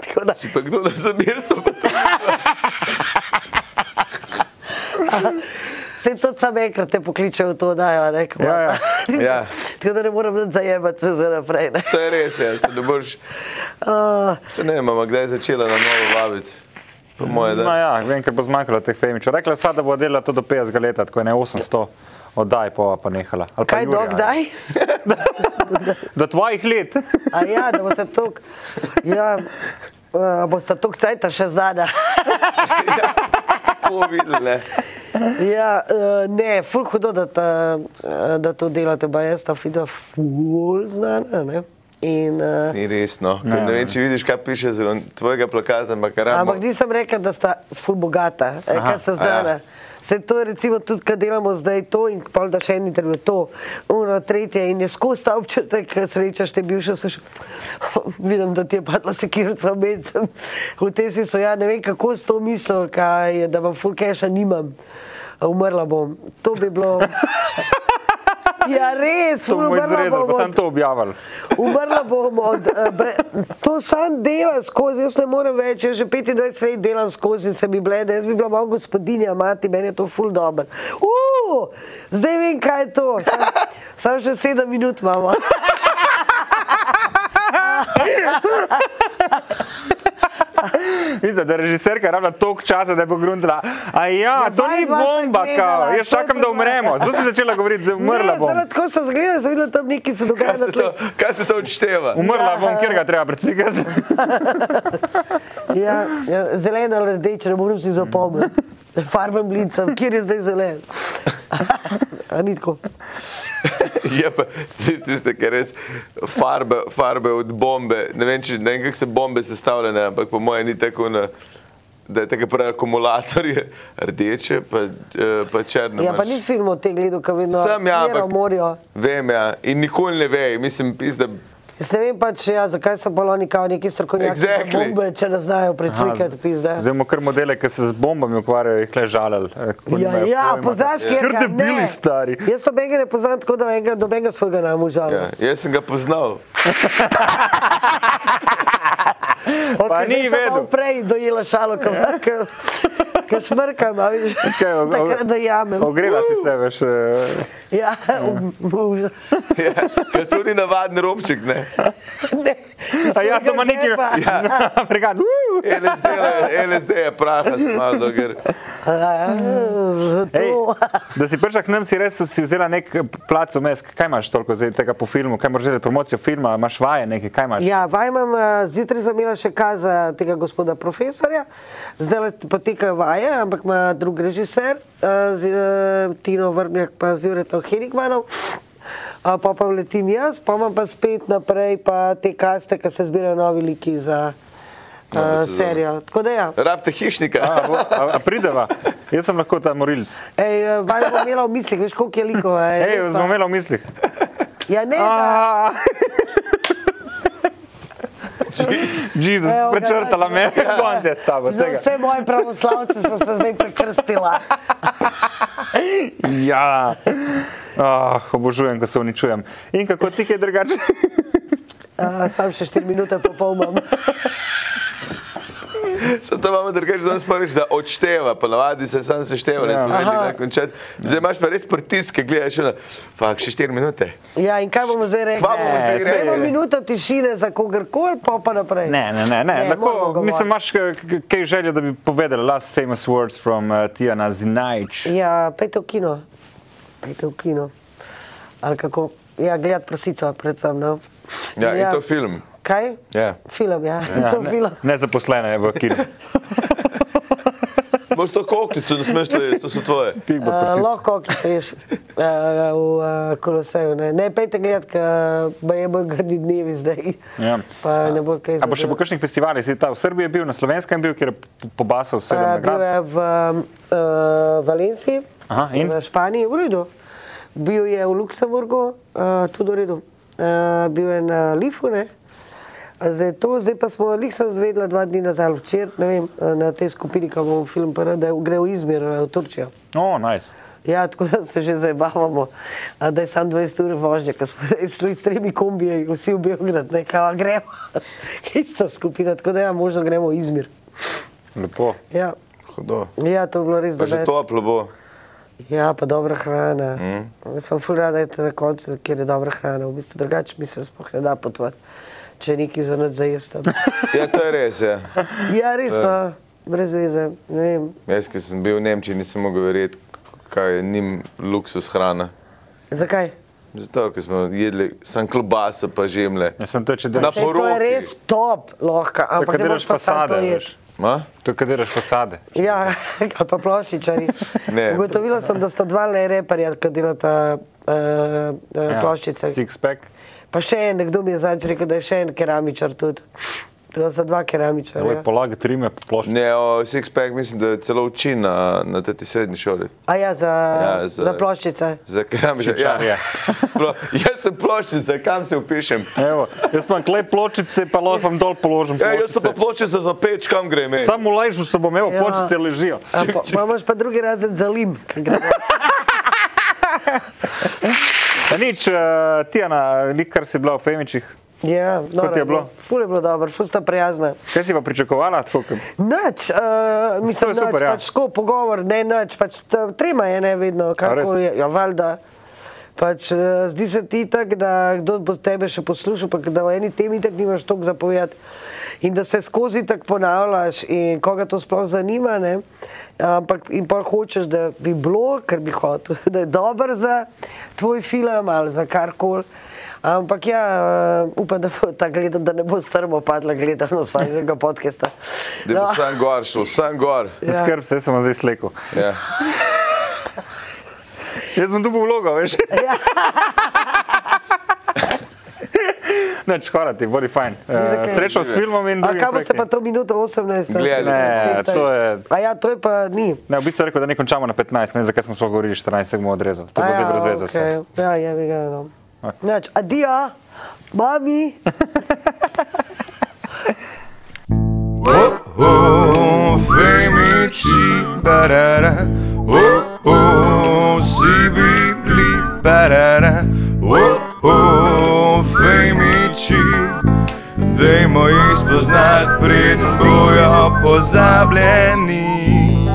Tako da, Če pa kdo da zamirca, pa to se to samo enkrat te pokličejo v to, da je nekaj. Ja, ja. Ja. Tako da ne moram nič zajemati se za naprej. Ne. To je res, ja, se ne boš. Uh, Se ne vem, ampak kdaj je začela na novo vabiti. Po moje, No, da. ja, vem, ker bo zmanjkalo teh femičev. Rekla sva, da bo delala to do 50 let, tako je ne 800 oddaj, pa pa nehala. Ali pa kaj Jurija, do ne. kdaj? Do tvojih let. A ja, da boste tok. Ja, uh, boste tok cajta še znana. To videl, ne. Ja, eh, ne, ful hudo, da, ta, eh, da to delate, pa jaz ta fida ful znana. Ne? In, uh, Ni resno. Ne, ne vem, če vidiš, kaj piše zelo tvojega plakata, makaramo. ampak nisem rekel, da sta ful bogata, eh, Aha, kaj se a ja. znana. Se to je recimo tudi, kad delamo zdaj to in pol da še en intervju to, uno, tretje in je skozi ta občutek, kad srečaš te bivše, so še, vidim, da ti je padla sekirca v mencem, v tem smislu, ja, ne vem, kako s to mislijo, kaj je, da vam ful keša nimam, umrla bom. To bi bilo... Ja, res, To bomo obrnila izrezali, bom pa sem od- to objavil. Umrla bom od. eh, Bre, to sam delam skozi, jaz ne morem več, jaz že 25 let delam skozi in se mi blede, jaz bi bila malo gospodinja, mati, meni je to ful dobro. Uh, zdaj vem, kaj je to. Sam, sam še sedem minut imamo. Vidite, da režiserka rabi toliko časa, da je pogruntala. A ja, Ja, to 22 ni sem bomba, gledala, kao. Jaz to je čakam, da bilo. umremo. Zdaj sem začela govoriti, da umrla ne, bom. zaradi tako sem zgledala, sem videla tam nekaj se dogaja. Kaj na se to, tleh. kaj se to odšteva? Umrla bom, kjer ga treba precikati. Ja, ja, zelena ali rdeča, ne morem si zapomniti. Farben blincem, kjer je zdaj zelen. A ni tako. Je pa ti- tiste, ki res farbe, farbe od bombe. Ne vem, če, ne vem kako se bombe sestavljene, ampak po mojem ni tako na. Da je tako pravi akumulator, je rdeče, pa, eh, pa črno. Ja, pa imaš. nisi filmov te gledal, kaj vedno Sem ja, Jero ampak morijo. Vem, ja. In nikoli ne ve, mislim, pizda. Jaz ne vem pač, ja, zakaj so baloni kao neki strokovnjaki Exactly. za bombe, če ne znajo precvikati pizda. Zdaj imamo kar modele, ki se z bombami ukvarjajo, jih le žalili. eh, Ja, ja poznaš, kje Ker debili stari. Jaz to mega ne poznam, tako da enega, nobenega svojega nam užal. Ja. Jaz sem ga poznal. okay, Pa ni zdaj sem vedel. malo Prej dojela šalo, ko ja. smrkam, a veš, Kaj, o- o- takrat dojamem. Ogrela si se, veš. eh. Ja, užal. Ja. ker To ni navaden robček, ne. Ne, iz A tvojega ja, to ima nekaj. žepa. Ja. Amerikan. Uh. LSD, je- LSD je praha, smalo, ker Ja, Ej, to. da si prišla k nam, si res si vzela nek plac vmes. Kaj imaš toliko zdaj tega po filmu? Kaj moraš delati? Promocijo filma, imaš vaje nekaj, kaj imaš? Ja, vaj imam, eh, zjutraj sem imela še kaza tega gospoda profesorja, zdaj potekajo vaje, ampak ima drug režiser, eh, z eh, Tino Vrnjak pa z Juretom Henigmanom. Pa pa letim jaz, pa imam pa spet naprej pa te kaste, ki se zbirajo novi liki za Novo uh, sezono. serijo. Tako da ja. rabite A, hišnika. bo- a, a prideva, jaz sem lahko ta morilc. Ej, eh, vaj bom imela v mislih, veš koliko je likov. ej, Hej, res, smo no. imeli v mislih. Ja, ne, da. A, Jezus, Evo ga, prečrtala me, Jezus. konc je s tabo. Za tega. Vse moje pravoslavce so se zdaj prekrstila. Ja, oh, obožujem, ko se uničujem. In kako ti je drugače? Uh, sam še 4 minute pa pol imam. Zato to imamo drugače, danes pa reči, da odšteva, pa navadi se sam sešteva, ne Ja. smo vedeli, Aha. da končati. Zdaj imaš pa res pritisk, ki gledaš, še na, fak, še 4 minute. Ja, in kaj bomo zdaj rekli? Kva bomo zdaj Ne, rekli? Eno minuto tišine za kogarkoli, pa pa naprej. Ne, ne, ne. ne. Lahko, moramo mislim, govoriti. imaš k- k- kaj željo, da bi povedal last famous words from uh, Tijana Zinajč. Ja, pejte v kino. Pejte v kino. Ali kako? Ja, gledati prasico, predvsem. No. Ja, in to film. Kaj? Ja. Film, ja. ja Ja, to ne. ne, film. nezaposlena je v kinu. Boš to koklico, ne smeš to jesti, to so tvoje. Ti bo Uh, prosil. lahko, ki se ješ uh, v uh, koloseju. Ne, ne pejte gledati, ker je bo grdi dnevi zdaj. Ja. Pa ne bo kaj A boš še po zadeva. kakšnih festivalih, si ta v Srbiji je bil, na Slovenskem je bil, kjer je p- pobasal vse. Eh, Bil je v uh, Valenciji, Aha, in? v Španiji, v redu. Bil je v Luksemburgu, uh, tudi v redu. Uh, bil je na Lifu, ne. Zdaj, to, zdaj pa smo, jih sem zvedela dva dni nazaj, ali včeraj, ne vem, eh, na tej skupini, ko bomo film prvi, da gre v Izmir, eh, v Turčijo. O, najs. Ja, tako da se že zabavamo, a da je samo 20 ur vožnje, ker smo zdaj šli s tremi kombiji, vsi v Beograd, ne kava gremo. Ista skupina, tako da ja, možno gremo v Izmir. Lepo. Ja. Hudo. Ja, to je bilo res Pa že dobro. toplo bo. Ja, pa dobra hrana. Mm. Jaz sem fura, da je to na koncu, kjer je dobra hrana. V bistvu drugače mi se sploh ne da potovati, če je neki za noč zajestam. Ja, to je res, ja. ja, res, no, brez veze. Ne vem. Jaz, ki sem bil v Nemčiji, nisem mogel verjeti, kaj je njim luksus hrana. Zakaj? Zato, ker smo jedli samo klobasa pa žemlje. Jaz sem to, če Na Sej, delaš, to je poroki. res top, lahko, to, ampak kar ne delaš moreš pa sam to fasade. jeti. veš. Ma? To, kar delaš fasade. Ja, ali pa ploščičari. Ne. Ugotovila sem, da sta dva le reperja, ki delata uh, Ja. uh, ploščice. Six pack. Pa še en, nekdo mi je zadnjič rekel, da je še en keramičar tudi. Da so dva keramičarja. Ja. Polagati rime po plošči. Ne, o Sixpack mislim, da je celo uči na, na teti srednji šoli. A ja, za, Ja, ja, za- za... za ploščice. Za keramičar. Čičarje. Ja. Plo, jaz sem ploščica, kam se upišem? Evo, jaz imam klej pločice, pa lopam dol položim. Ja, jaz sem pa pločice. ploščica za peč, kam grem? ej? Samo lajžu se bom, evo, Ja. pločice ležijo. A Pa, pa imaš pa drugi razred za lim, ki gre. Ja, nič, uh, Tijana, nikar si bila v Femičih. Ja, noro je bilo? Ful je bilo dobro, ful sta prijazna. Kaj si pa pričakovala? Tako, kot- Ja. Noč, uh, mislim, je da super, je ja. pač tako pogovor, ne noč, pač t- trema je ne vedno, karkoli je, ja, valjda. Pač, eh, zdi se ti tako, da kdo bo tebe še poslušal, pa da o eni temi tako nimaš toliko zapovedati in da se skozi tako ponavljaš in koga to sploh zanima. Ne? Ampak in pa hočeš, da bi bilo, ker bi hotel, da je dober za tvoj film ali za karkoli. Ampak ja, eh, upam, da bo ta gledal, da ne bo strmo padla gledanost svojega podcasta. No, Da bo sam gor šel, sam gor. Ja. Skrb se, sem vam zdaj slekel. Ja. Jaz sem dobil vlogo, veš. Ja. Noč, hvala ti, bodi fajn. Uh, kaj. srečno s filmom in A drugim kaj boste pa projekti. to minuto 18? Gledali. Ne, to je- A ja, to je pa ni. Ne, v bistvu je rekel, da ne končamo na 15, ne, vem, zakaj smo sploh govorili 14, se bomo odrezali. To bo A zdaj brez veze. okej. Okay. Ja, je bi ga no. Ok. Nač, adijo, mami. Oh, oh, femiči, barara, oh, oh, si bi bili, barara, oh, oh, femiči. Dajmo jih spoznati, preden bojo pozabljeni.